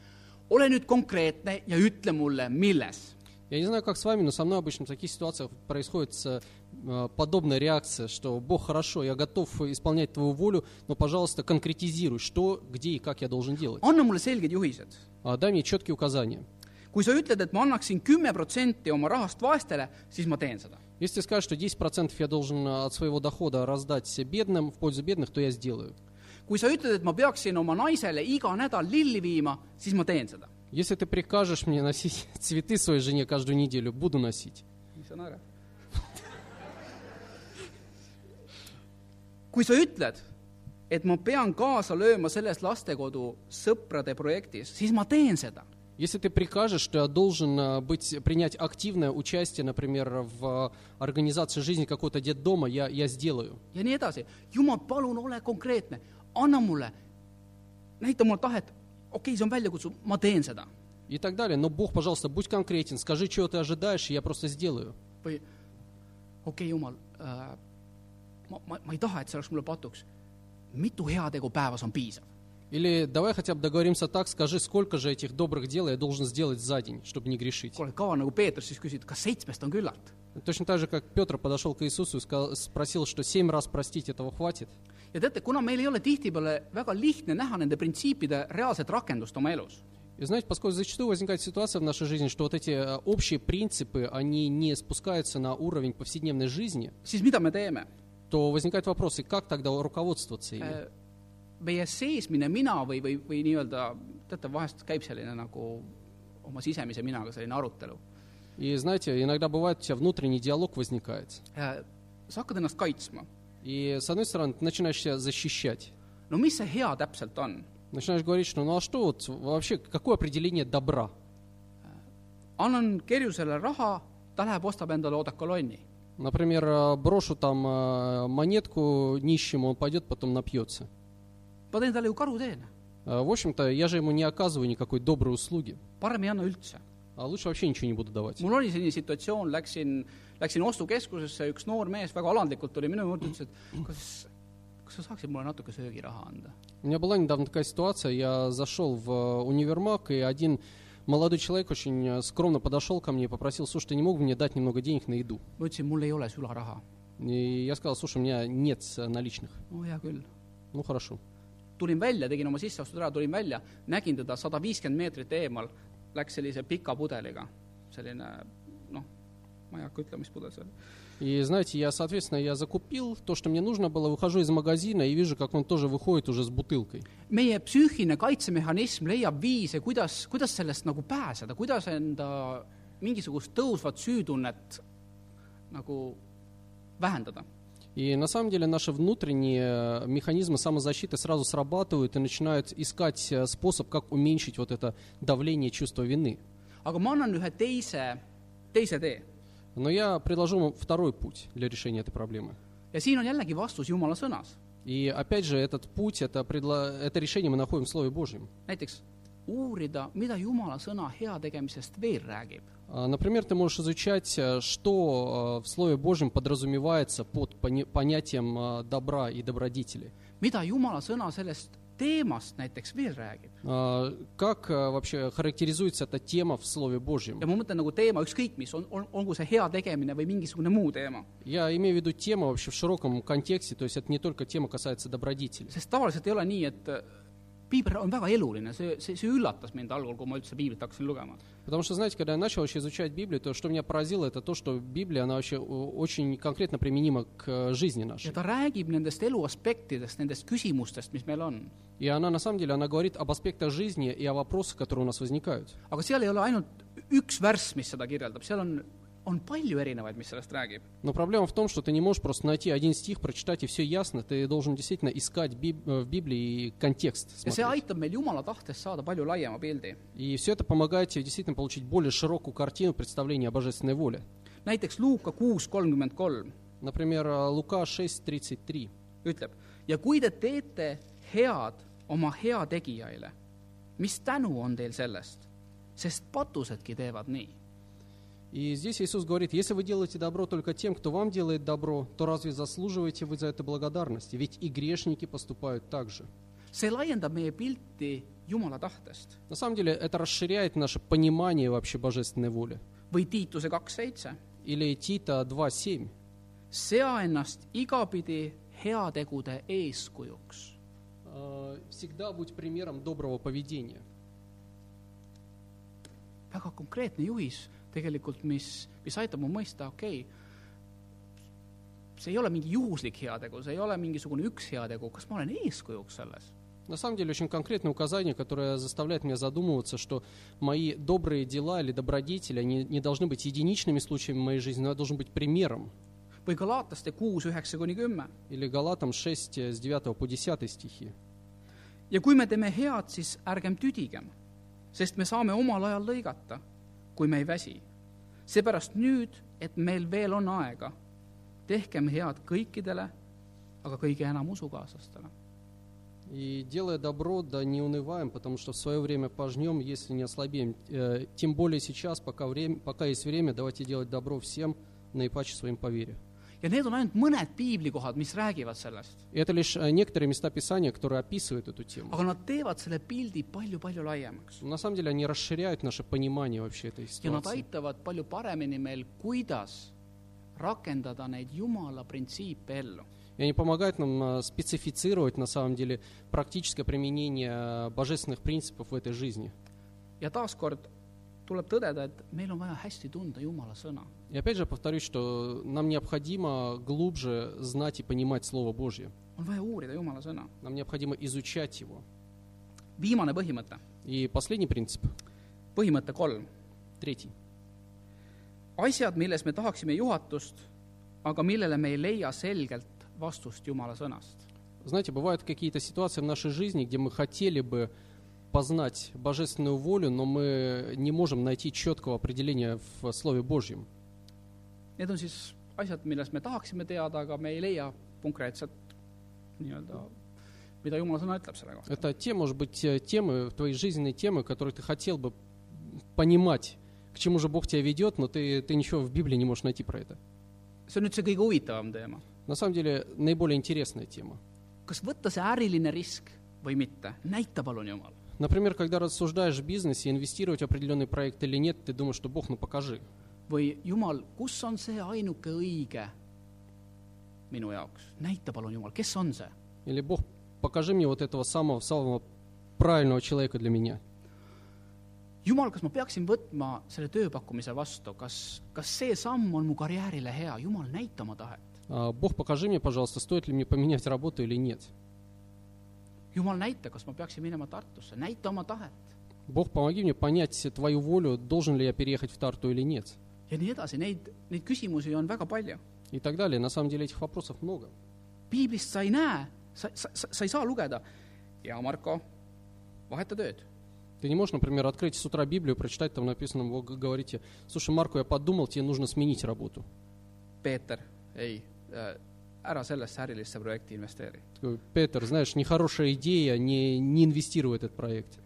Speaker 1: ole nüüd konkreetne ja ütle mulle , milles
Speaker 2: Я не знаю, как с вами, но со мной обычно в таких ситуациях происходит с, э, подобная реакция, что «Бог, хорошо, я готов исполнять Твою волю, но, пожалуйста, конкретизируй, что, где и как я должен делать.
Speaker 1: anna mulle selged juhised .
Speaker 2: А, Дай мне четкие указания».
Speaker 1: kui sa ütled , et ma annaksin kümme protsenti oma rahast vaestele , siis ma teen seda .
Speaker 2: Если ты скажешь, что 10% я должен э, от своего дохода раздать бедным, в пользу бедных, то я сделаю.
Speaker 1: kui sa ütled , et ma peaksin oma naisele iga nädal lilli viima , siis ma teen seda .
Speaker 2: Если ты прикажешь мне носить цветы своей жене каждую неделю, буду носить.
Speaker 1: mis on ära ? kui sa ütled , et ma pean kaasa lööma selles lastekodu sõprade projektis , siis ma teen seda .
Speaker 2: Если ты прикажешь, что я должен э, быть, принять активное участие, например, в э, организации жизни какого-то детдома, я, я сделаю.
Speaker 1: ja nii edasi . jumal , palun ole konkreetne , anna mulle , näita mulle tahet , okei okay, , see on väljakutsuv , ma teen seda
Speaker 2: и так далее. Но Бог, пожалуйста, будь конкретен, скажи, чего ты ожидаешь, и я просто сделаю.
Speaker 1: või okei okay, , jumal äh, , ma , ma , ma ei taha , et see oleks mulle patuks . mitu heategu päevas on piisav ?
Speaker 2: Или давай хотя бы договоримся так, скажи, сколько же этих добрых дел я должен сделать за день, чтобы не грешить.
Speaker 1: kuule , ka nagu Peetrus siis küsis , et kas seitsmest on küllalt ?
Speaker 2: Точно так же, как Петр подошел к Иисусу и сказал- спросил, что семь раз простить этого хватит.
Speaker 1: ja teate , kuna meil ei ole tihtipeale väga lihtne näha nende printsiipide reaalset rakendust oma elus ,
Speaker 2: И знаете, поскольку зачастую возникает ситуация в нашей жизни, что вот эти э, общие принципы, они не спускаются на уровень повседневной жизни,
Speaker 1: siis mida me teeme ?
Speaker 2: то возникает вопрос, и как тогда руководствоваться
Speaker 1: Э.
Speaker 2: ими?
Speaker 1: meie seesmine mina või , või , või nii-öelda , teate , vahest käib selline nagu oma sisemise minaga selline arutelu .
Speaker 2: И знаете, иногда бывает, у тебя внутренний диалог возникает.
Speaker 1: Äh, sa hakkad ennast kaitsma .
Speaker 2: И с одной стороны, ты начинаешь себя защищать.
Speaker 1: no mis see hea täpselt on ?
Speaker 2: Начинаешь говорить, что ну а что вот вообще, какое определение добра?
Speaker 1: annan kerjusele raha , ta läheb , ostab endale odakolonni .
Speaker 2: Например, э, брошу там э, монетку нищему, он пойдет, потом напьется.
Speaker 1: ma teen talle ju karuteene ,
Speaker 2: Э, В общем-то, я же ему не оказываю никакой доброй услуги.
Speaker 1: parem ei anna üldse .
Speaker 2: А лучше вообще ничего не буду давать.
Speaker 1: mul oli selline situatsioon , läksin , läksin ostukeskusesse , üks noor mees väga alandlikult tuli minu juurde , ütles , et kas , kas sa saaksid mulle natuke söögiraha anda ?
Speaker 2: У меня была недавно такая ситуация. Я зашел в э, универмаг, и один молодой человек очень э, скромно подошел ко мне и попросил, слушай, ты не мог бы мне дать немного денег на еду?
Speaker 1: ma ütlesin , mul ei ole sularaha .
Speaker 2: И я сказал, слушай, у меня нет э, наличных.
Speaker 1: no hea küll .
Speaker 2: Ну, хорошо.
Speaker 1: tulin välja , tegin oma sisseostud ära , tulin välja , nägin teda sada viiskümmend meetrit eemal , läks sellise pika pudeliga , selline noh , ma ei hakka ütlema , mis pudel see oli .
Speaker 2: И знаете, я, соответственно, я закупил то, что мне нужно было, выхожу из магазина и вижу, как он тоже выходит уже с бутылкой.
Speaker 1: meie psüühiline kaitsemehhanism leiab viise , kuidas , kuidas sellest nagu pääseda , kuidas enda mingisugust tõusvat süütunnet nagu vähendada .
Speaker 2: И на самом деле наши внутренние э, механизмы самозащиты сразу срабатывают и начинают искать э, способ, как уменьшить вот это давление чувства вины.
Speaker 1: aga ma annan ühe teise , teise tee
Speaker 2: Но я предложу вам второй путь для решения этой проблемы.
Speaker 1: ja siin on jällegi vastus Jumala sõnas .
Speaker 2: И опять же, этот путь, это, предла- это решение мы находим в Слове Божьем.
Speaker 1: näiteks uurida , mida Jumala sõna heategemisest veel räägib .
Speaker 2: А, Например, ты можешь изучать, э, что э, в Слове Божьем подразумевается под пони- понятием э, добра и добродетели.
Speaker 1: mida Jumala sõna sellest teemast näiteks veel räägib .
Speaker 2: А, Как э, вообще характеризуется эта тема в Слове Божьем?
Speaker 1: ja ma mõtlen nagu teema ükskõik mis , on, on , olgu see hea tegemine või mingisugune muu teema .
Speaker 2: Я имею в виду тему вообще в широком контексте, то есть это не только тема касается добродетелей.
Speaker 1: sest tavaliselt ei ole nii , et äh, piibel on väga eluline , see , see , see üllatas mind algul , kui ma üldse piiblit hakkasin lugema .
Speaker 2: Потому что, знаете, когда я начал вообще изучать Библию, то, что меня поразило, это то, что Библия, она вообще э, очень конкретно применима к э, жизни нашей.
Speaker 1: ja ta räägib nendest elu aspektidest , nendest küsimustest , mis meil on .
Speaker 2: И она, на самом деле, она говорит об аспектах жизни и о вопросах, которые у нас возникают.
Speaker 1: aga seal ei ole ainult üks värss , mis seda kirjeldab , seal on , on palju erinevaid , mis sellest räägib .
Speaker 2: Но проблема в том, что ты не можешь просто найти один стих, прочитать и все ясно. Ты должен действительно искать биб- э, в Библии контекст.
Speaker 1: ja see
Speaker 2: смотреть.
Speaker 1: aitab meil Jumala tahtest saada palju laiema pildi .
Speaker 2: И все это помогает тебе действительно получить более широкую картину представления о божественной воле.
Speaker 1: näiteks Luuka kuus kolmkümmend kolm
Speaker 2: Например, э, Лука 6.33.
Speaker 1: ütleb ja kui te teete head oma heategijaile , mis tänu on teil sellest , sest patusedki teevad nii .
Speaker 2: И здесь Иисус говорит, если вы делаете добро только тем, кто вам делает добро, то разве заслуживаете вы за это благодарности? Ведь и грешники поступают так же.
Speaker 1: see laiendab meie pilti Jumala tahtest
Speaker 2: На самом деле это расширяет наше понимание вообще божественной воли.
Speaker 1: või Tiituse kaks seitse ,
Speaker 2: Или Тита 2.7.
Speaker 1: sea ennast igapidi heategude eeskujuks .
Speaker 2: Э, Всегда будь примером доброго поведения.
Speaker 1: väga konkreetne juhis tegelikult , mis , mis aitab mu mõista , okei okay, , see ei ole mingi juhuslik heategu , see ei ole mingisugune üks heategu , kas ma olen eeskujuks selles ?
Speaker 2: На самом деле очень конкретное указание, которое заставляет меня задумываться, что мои добрые дела или добродетели, они не должны быть единичными случаями в моей жизни, но я должен быть примером.
Speaker 1: või Galataste kuus üheksa kuni kümme .
Speaker 2: Или Галатам 6 э, с 9 по 10 стихи.
Speaker 1: ja kui me teeme head , siis ärgem tüdigem , sest me saame omal ajal lõigata , kui me ei väsi . seepärast nüüd , et meil veel on aega , tehkem head kõikidele , aga kõige enam usukaaslastele .
Speaker 2: И делая добро, да не унываем, потому что в свое время пожнем, если не ослабеем. Э, Тем более сейчас, пока, время, пока есть время, давайте делать добро всем, наипаче своим по вере.
Speaker 1: ja need on ainult mõned piiblikohad , mis räägivad sellest ,
Speaker 2: И это лишь э, некоторые места Писания, которые описывают эту тему.
Speaker 1: aga nad teevad selle pildi palju-palju laiemaks
Speaker 2: На самом деле они расширяют наше понимание вообще этой
Speaker 1: ja nad
Speaker 2: ситуации.
Speaker 1: aitavad palju paremini meil , kuidas rakendada neid Jumala printsiipe ellu .
Speaker 2: И они помогают нам э, специфицировать, на самом деле, практическое применение э, божественных принципов в этой жизни.
Speaker 1: ja taaskord tuleb tõdeda , et meil on vaja hästi tunda Jumala sõna .
Speaker 2: И опять же повторюсь, что нам необходимо глубже знать и понимать Слово Божье.
Speaker 1: on vaja uurida Jumala sõna .
Speaker 2: Нам необходимо изучать его.
Speaker 1: viimane põhimõte ,
Speaker 2: И последний принцип,
Speaker 1: põhimõte kolm .
Speaker 2: третий.
Speaker 1: asjad , milles me tahaksime juhatust , aga millele me ei leia selgelt vastust Jumala sõnast .
Speaker 2: Знаете, бывают какие-то ситуации в нашей жизни, где мы хотели бы познать божественную волю, но мы не можем найти четкого определения в Слове Божьем.
Speaker 1: Need on siis asjad , millest me tahaksime teada , aga me ei leia konkreetset nii-öelda , mida Jumala sõna ütleb selle kohta .
Speaker 2: Это те, может быть, э, темы, твои жизненные темы, которые ты хотел бы понимать, к чему же Бог тебя ведет, но ты, ты ничего в Библии не можешь найти про это.
Speaker 1: see on nüüd see kõige huvitavam teema .
Speaker 2: На самом деле, наиболее интересная тема.
Speaker 1: kas võtta see äriline risk või mitte , näita palun , Jumal .
Speaker 2: Например, когда рассуждаешь в бизнесе, инвестировать в определенный проект или нет, ты думаешь, что Бог, ну покажи.
Speaker 1: või Jumal , kus on see ainuke õige minu jaoks , näita palun , Jumal , kes on see ?
Speaker 2: Или Бог, покажи мне вот этого самого, самого правильного человека для меня.
Speaker 1: Jumal , kas ma peaksin võtma selle tööpakkumise vastu , kas , kas see samm on mu karjäärile hea , Jumal , näita oma tahet .
Speaker 2: А, Бог, покажи мне, пожалуйста, стоит ли мне поменять работу или нет.
Speaker 1: Jumal , näita , kas ma peaksin minema Tartusse , näita oma tahet
Speaker 2: Бог, помоги мне понять твою волю, должен ли я переехать в Тарту или нет.
Speaker 1: ja nii edasi , neid , neid küsimusi on väga palju .
Speaker 2: И так далее. На самом деле этих вопросов много.
Speaker 1: piiblist sa ei näe , sa , sa , sa ei saa lugeda . ja Marko , vaheta tööd .
Speaker 2: Ты не можешь, например, открыть с утра Библию, прочитать, там написано, вы г- говорите, слушай, Марко, я подумал, тебе нужно сменить работу.
Speaker 1: Peeter , ei , ära sellesse ärilisse projekti investeeri .
Speaker 2: Такой, Петер, знаешь, нехорошая идея, не, не инвестируй в этот проект.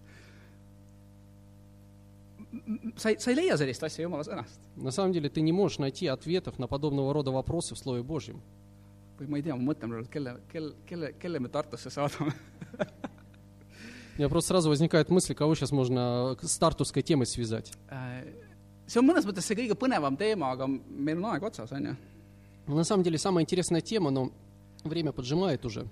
Speaker 1: sa ei , sa ei leia sellist asja Jumala sõnast .
Speaker 2: На самом деле ты не можешь найти ответов на подобного рода вопросы в Слове Божьем.
Speaker 1: või ma ei tea , ma mõtlen praegu , et kelle , kelle , kelle , kelle me Tartusse saadame .
Speaker 2: У меня просто сразу возникает мысль, кого сейчас можно э, к- с тартусской темой связать.
Speaker 1: Äh, see on mõnes mõttes see kõige põnevam teema , aga meil on aeg otsas , on ju .
Speaker 2: Но на самом деле самая интересная тема, но время поджимает уже.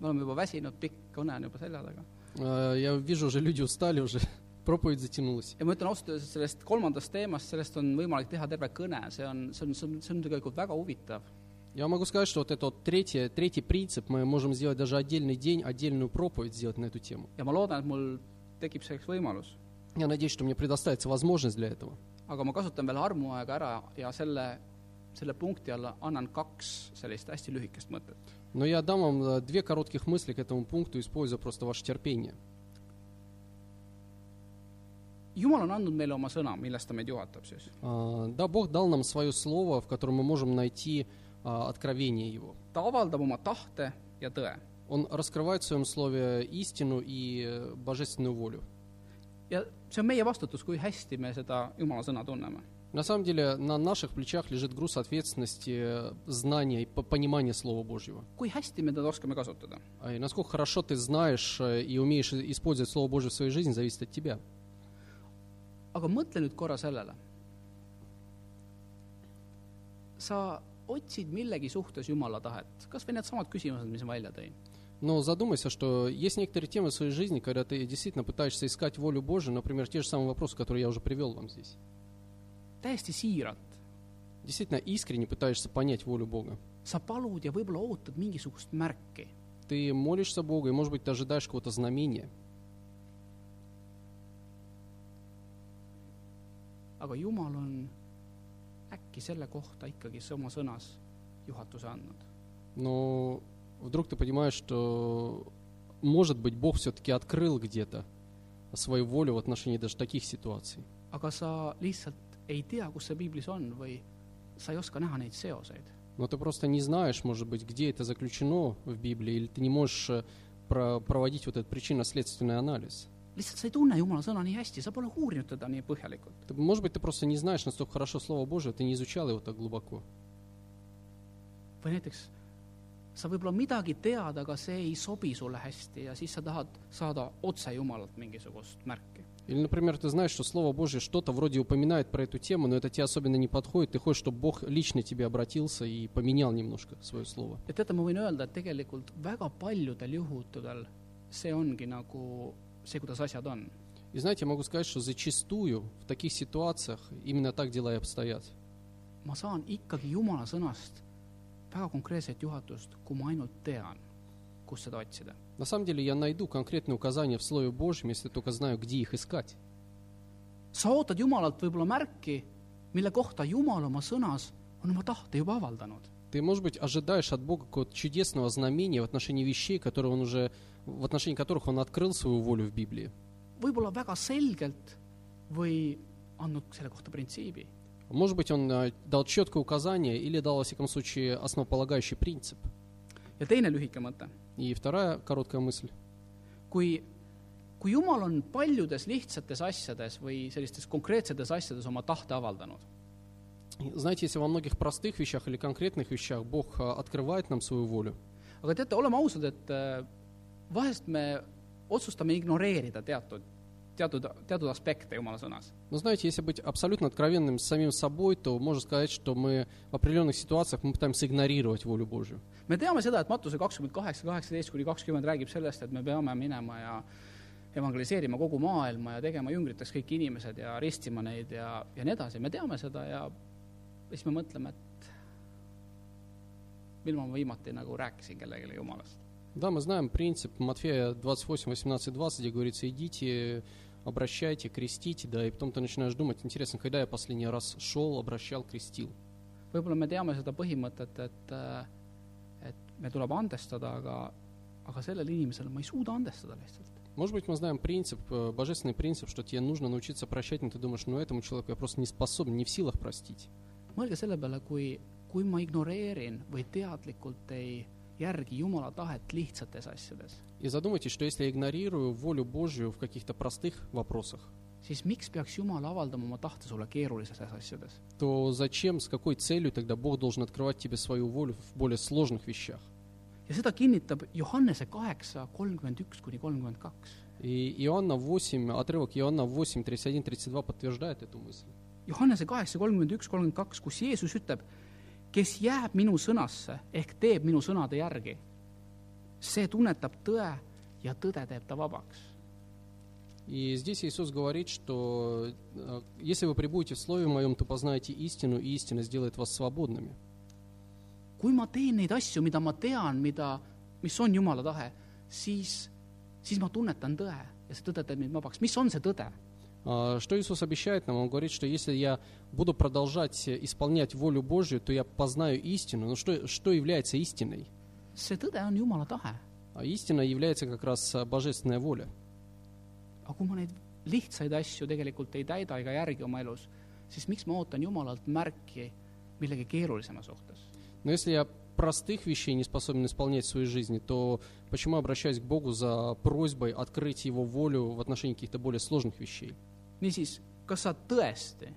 Speaker 1: me oleme juba väsinud , pikk kõne on juba selja taga .
Speaker 2: Э, Я вижу, уже люди устали уже, проповедь затянулась.
Speaker 1: ja ma ütlen ausalt öeldes , et sellest kolmandast teemast , sellest on võimalik teha terve kõne , see on , see on , see on , see on tegelikult väga huvitav .
Speaker 2: Я могу сказать, что вот это вот третий, третий принцип, мы можем сделать даже отдельный день, отдельную проповедь сделать на эту тему.
Speaker 1: ja ma loodan , et mul tekib selleks võimalus .
Speaker 2: Я надеюсь, что мне предоставится возможность для этого.
Speaker 1: aga ma kasutan veel armuaega ära ja selle , selle punkti alla annan kaks sellist hästi lühikest mõtet .
Speaker 2: Но я дам вам э, две коротких мысли к этому пункту, используя просто ваше терпение.
Speaker 1: jumal on andnud meile oma sõna , millest ta meid juhatab siis .
Speaker 2: А, Да, Бог дал нам свое слово, в котором мы можем найти а, откровение Его.
Speaker 1: ta avaldab oma tahte ja tõe .
Speaker 2: Он раскрывает в своем слове истину и э, божественную волю.
Speaker 1: ja see on meie vastutus , kui hästi me seda Jumala sõna tunneme .
Speaker 2: На самом деле на наших плечах лежит груз ответственности, э, знания и по- понимания Слова Божьего.
Speaker 1: kui hästi me teda oskame kasutada .
Speaker 2: А И насколько хорошо ты знаешь э, и умеешь и- использовать Слово Божье в своей жизни, зависит от тебя.
Speaker 1: aga mõtle nüüd korra sellele . sa otsid millegi suhtes Jumala tahet , kas või needsamad küsimused , mis ma välja tõin .
Speaker 2: Но задумайся, что есть некоторые темы в своей жизни, когда ты действительно пытаешься искать волю Божью, например, те же самые вопросы, которые я уже привел вам здесь.
Speaker 1: täiesti siiralt .
Speaker 2: Действительно искренне пытаешься понять волю Бога.
Speaker 1: sa palud ja võib-olla ootad mingisugust märki .
Speaker 2: Ты молишься Богу, и, может быть, ты ожидаешь какого-то знамения.
Speaker 1: aga Jumal on äkki selle kohta ikkagi oma sõnas juhatuse andnud .
Speaker 2: Но вдруг ты понимаешь, что, может быть, Бог все-таки открыл где-то свою волю в отношении даже таких ситуаций.
Speaker 1: aga sa lihtsalt ei tea , kus see piiblis on või sa ei oska näha neid seoseid .
Speaker 2: Но ты просто не знаешь, может быть, где это заключено в Библии, или ты не можешь э, про- проводить вот этот причинно-следственный анализ.
Speaker 1: lihtsalt sa ei tunne Jumala sõna nii hästi , sa pole uurinud teda nii põhjalikult .
Speaker 2: Ты- может быть, ты просто не знаешь настолько хорошо Слово Божие, ты не изучал его так глубоко.
Speaker 1: või näiteks sa võib-olla midagi tead , aga see ei sobi sulle hästi ja siis sa tahad saada otse Jumalalt mingisugust märki .
Speaker 2: Или, например, ты знаешь, что Слово Божье что-то вроде упоминает про эту тему, но это тебе особенно не подходит. Ты хочешь, чтобы Бог лично тебе обратился и поменял немножко свое слово.
Speaker 1: ja teate , ma võin öelda , et tegelikult väga paljudel juhtudel see ongi nagu see , kuidas asjad on .
Speaker 2: И знаете, я могу сказать, что зачастую в таких ситуациях именно так дела и обстоят.
Speaker 1: ma saan ikkagi Jumala sõnast väga konkreetset juhatust , kui ma ainult tean , kus seda otsida .
Speaker 2: На самом деле я найду конкретные указания в Слове Божьем, если только знаю, где их искать.
Speaker 1: sa ootad Jumalalt võib-olla märki , mille kohta Jumal oma sõnas on oma tahte juba avaldanud .
Speaker 2: Ты, может быть, ожидаешь от Бога какого-то чудесного знамения в отношении вещей, которые он уже, в отношении которых он открыл свою волю в Библии.
Speaker 1: võib-olla väga selgelt või andnud selle kohta printsiibi .
Speaker 2: Может быть, он э, дал четкое указание или дал, во всяком случае, основополагающий принцип.
Speaker 1: ja teine lühike mõte ,
Speaker 2: И вторая короткая мысль.
Speaker 1: kui , kui Jumal on paljudes lihtsates asjades või sellistes konkreetsetes asjades oma tahte avaldanud ,
Speaker 2: Знаете, если во многих простых вещах или конкретных вещах Бог э, открывает нам свою волю,
Speaker 1: aga teate , oleme ausad , et äh, vahest me otsustame ignoreerida teatud , teatud , teatud aspekte Jumala sõnas .
Speaker 2: но знаете, если быть абсолютно откровенным с самим собой, то можно сказать, что мы в определенных ситуациях мы пытаемся игнорировать волю Божью.
Speaker 1: me teame seda , et Matuse kakskümmend kaheksa , kaheksateist kuni kakskümmend räägib sellest , et me peame minema ja evangeliseerima kogu maailma ja tegema jüngriteks kõik inimesed ja ristima neid ja , ja nii edasi , me teame seda ja siis me mõtleme , et millal ma viimati nagu rääkisin kellelegi Jumalast .
Speaker 2: Да, мы знаем принцип Матфея 28, 18, 20, где говорится, идите, обращайте, крестите, да, и потом ты начинаешь думать, интересно, когда я последний раз шел, обращал, крестил.
Speaker 1: võib-olla me teame seda põhimõtet , et , et me tuleb andestada , aga , aga sellele inimesele ma ei suuda andestada lihtsalt .
Speaker 2: Может быть, мы знаем принцип, э, божественный принцип, что тебе нужно научиться прощать, но ты думаешь, ну этому человеку я просто не способен, не в силах простить.
Speaker 1: mõelge selle peale , kui , kui ma ignoreerin või teadlikult ei järgi Jumala tahet lihtsates asjades ,
Speaker 2: И задумайтесь, что если я игнорирую волю Божью в каких-то простых вопросах,
Speaker 1: siis miks peaks Jumal avaldama oma tahte sulle keerulises asjades ?
Speaker 2: то зачем, с какой целью тогда Бог должен открывать тебе свою волю в более сложных вещах?
Speaker 1: ja seda kinnitab Johannese kaheksa , kolmkümmend üks kuni kolmkümmend kaks .
Speaker 2: И Иоанна 8, отрывок Иоанна 8, 31, 32 подтверждает эту мысль.
Speaker 1: Johannese kaheksa , kolmkümmend üks , kolmkümmend kaks , kus Jeesus ütleb , kes jääb minu sõnasse ehk teeb minu sõnade järgi , see tunnetab tõe ja tõde teeb ta vabaks
Speaker 2: И здесь Иисус говорит, что э, если вы пребудете в Слове Моем, то познаете истину, и истина сделает вас свободными.
Speaker 1: kui ma teen neid asju , mida ma tean , mida , mis on Jumala tahe , siis , siis ma tunnetan tõe ja see tõde teeb mind vabaks . mis on see tõde ?
Speaker 2: А, Что Иисус обещает нам? Он говорит, что если я буду продолжать э, исполнять волю Божью, то я познаю истину. Но что, что является истиной?
Speaker 1: see tõde on Jumala tahe .
Speaker 2: А истина является как раз э, божественная воля.
Speaker 1: aga kui ma neid lihtsaid asju tegelikult ei täida ega järgi oma elus , siis miks ma ootan Jumalalt märki millegi keerulisema suhtes ?
Speaker 2: Но если я простых вещей не способен исполнять в своей жизни, то почему обращаюсь к Богу за просьбой открыть Его волю в отношении каких-то более сложных вещей?
Speaker 1: niisiis , kas sa tõesti ,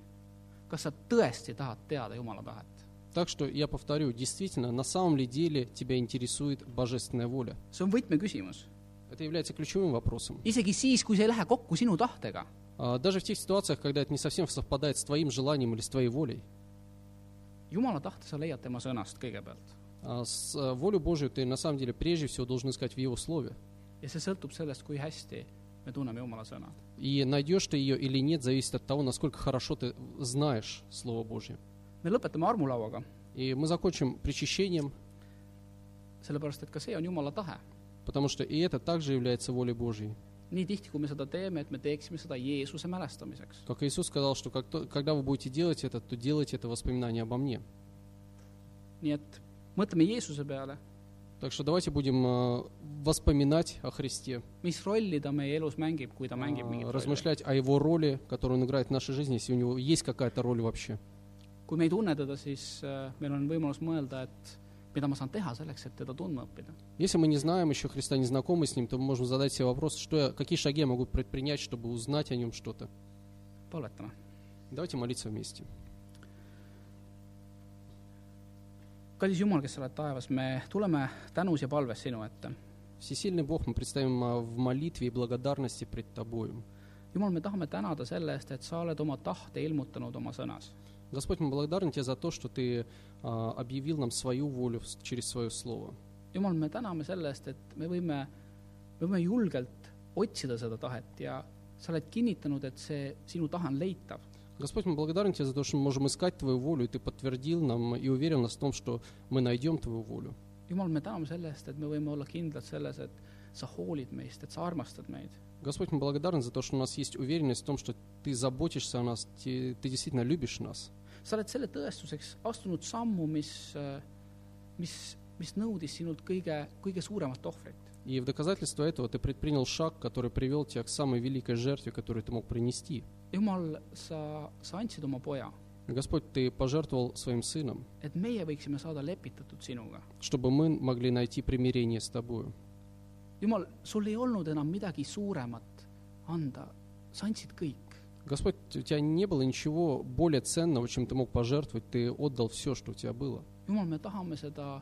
Speaker 1: kas sa tõesti tahad teada Jumala tahet ?
Speaker 2: Так что я повторю, действительно, на самом ли деле тебя интересует божественная воля?
Speaker 1: see on võtmeküsimus .
Speaker 2: Это является ключевым вопросом.
Speaker 1: isegi siis , kui see ei lähe kokku sinu tahtega ,
Speaker 2: А, Даже в тех ситуациях, когда это не совсем совпадает с твоим желанием или с твоей волей,
Speaker 1: Jumala tahte sa leiad tema sõnast kõigepealt .
Speaker 2: а, с а, волю Божию ты на самом деле прежде всего должен искать в Его Слове.
Speaker 1: ja see sõltub sellest , kui hästi me tunneme Jumala sõna .
Speaker 2: И найдешь ты ее или нет, зависит от того, насколько хорошо ты знаешь Слово Божье.
Speaker 1: me lõpetame armulauaga ,
Speaker 2: И мы закончим причащением,
Speaker 1: sellepärast et ka see on Jumala tahe .
Speaker 2: потому что и это также является волей Божьей.
Speaker 1: nii tihti , kui me seda teeme , et me teeksime seda Jeesuse mälestamiseks .
Speaker 2: Как Иисус сказал, что как то- когда вы будете делать это, то делайте это воспоминание обо мне.
Speaker 1: nii et mõtleme Jeesuse peale ,
Speaker 2: Так что давайте будем э, воспоминать о Христе,
Speaker 1: mis rolli ta meie elus mängib , kui ta mängib
Speaker 2: э,
Speaker 1: mingit rolli .
Speaker 2: размышлять о Его роли, которую Он играет в нашей жизни, если у Него есть какая-то роль вообще.
Speaker 1: kui me ei tunne teda , siis äh, meil on võimalus mõelda , et mida ma saan teha selleks , et teda tundma õppida .
Speaker 2: Если мы не знаем еще Христа, не знакомы с Ним, то мы можем задать себе вопрос, что я, какие шаги я могу предпринять, чтобы узнать о Нем что-то.
Speaker 1: palvetame .
Speaker 2: Давайте молиться вместе.
Speaker 1: kallis Jumal , kes sa oled taevas , me tuleme tänus ja palves sinu ette .
Speaker 2: Всесильный Бог, мы представим э, в молитве и благодарности пред Тобою.
Speaker 1: jumal , me tahame tänada selle eest , et sa oled oma tahte ilmutanud oma sõnas .
Speaker 2: Господь, мы благодарны Тебе за то, что Ты а, объявил нам свою волю с- через свое слово.
Speaker 1: jumal , me täname selle eest , et me võime , me võime julgelt otsida seda tahet ja sa oled kinnitanud , et see sinu tahe on leitav .
Speaker 2: Господь, мы благодарны Тебе за то, что мы можем искать Твою волю, и Ты подтвердил нам и уверен нас в том, что мы найдем Твою волю.
Speaker 1: jumal , me täname selle eest , et me võime olla kindlad selles , et sa hoolid meist , et sa armastad meid .
Speaker 2: Господь, мы благодарны за то, что у нас есть уверенность в том, что Ты заботишься о нас, Ти- Ты действительно любишь нас.
Speaker 1: sa oled selle tõestuseks astunud sammu , mis , mis , mis nõudis sinult kõige , kõige suuremat ohvrit .
Speaker 2: И в доказательство этого Ты предпринял шаг, который привел Тебя к самой великой жертве, которую Ты мог принести.
Speaker 1: jumal , sa , sa andsid oma poja ,
Speaker 2: Господь, Ты пожертвовал Своим Сыном,
Speaker 1: et meie võiksime saada lepitatud sinuga .
Speaker 2: чтобы мы могли найти примирение с Тобою.
Speaker 1: jumal , sul ei olnud enam midagi suuremat anda , sa andsid kõik .
Speaker 2: Господь, у тебя не было ничего более ценного, чем ты мог пожертвовать. Ты отдал все, что у тебя было.
Speaker 1: jumal , me tahame seda ,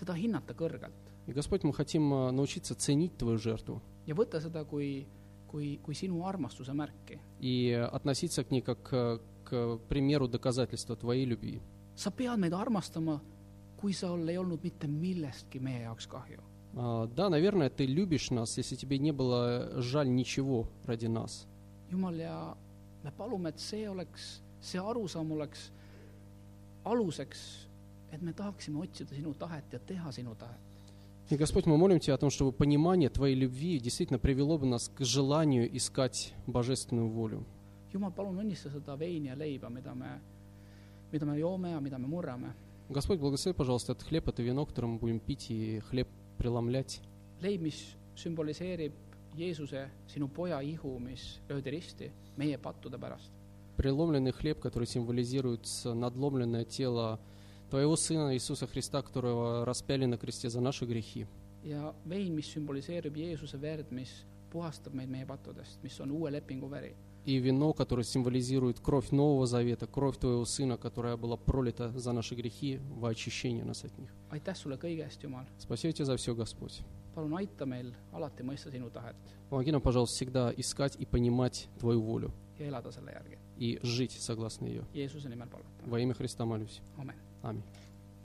Speaker 1: seda hinnata kõrgelt
Speaker 2: И, Господь, мы хотим а, научиться ценить Твою жертву
Speaker 1: ja võtta seda kui , kui , kui sinu armastuse märki .
Speaker 2: и э, относиться к ней как э, к примеру доказательства Твоей любви.
Speaker 1: sa pead meid armastama , kui sul ei olnud mitte millestki meie jaoks kahju .
Speaker 2: А, Да, наверное, Ты любишь нас, если тебе не было жаль ничего ради нас.
Speaker 1: jumal , ja me palume , et see oleks , see arusaam oleks aluseks , et me tahaksime otsida sinu tahet ja teha sinu tahet .
Speaker 2: И, Господь, мы молим Тебя о том, чтобы понимание Твоей любви действительно привело бы нас к желанию искать божественную волю.
Speaker 1: jumal , palun õnnista seda veini ja leiba , mida me , mida me joome ja mida me murrame .
Speaker 2: Господь, благослови, пожалуйста, этот хлеб, это вино, которое мы будем пить и хлеб преломлять.
Speaker 1: leib , mis sümboliseerib Jeesuse , sinu poja ihu , mis löödi risti meie pattude pärast .
Speaker 2: Преломленный хлеб, который символизирует с- надломленное тело Твоего Сына Иисуса Христа, которого распяли на кресте за наши грехи.
Speaker 1: ja vein , mis sümboliseerib Jeesuse verd , mis puhastab meid meie pattudest , mis on uue lepingu veri .
Speaker 2: И вино, которое символизирует кровь Нового Завета, кровь Твоего Сына, которая была пролита за наши грехи во очищение нас от них.
Speaker 1: aitäh sulle kõige eest , Jumal .
Speaker 2: Спасибо Тебе за все, Господь.
Speaker 1: palun aita meil alati mõista sinu tahet
Speaker 2: Помоги нам, пожалуйста, всегда искать и понимать Твою волю
Speaker 1: ja elada selle järgi .
Speaker 2: и жить согласно ее.
Speaker 1: Jeesuse nimel palvetame ,
Speaker 2: Во имя Христа молюсь.
Speaker 1: amen .
Speaker 2: Аминь.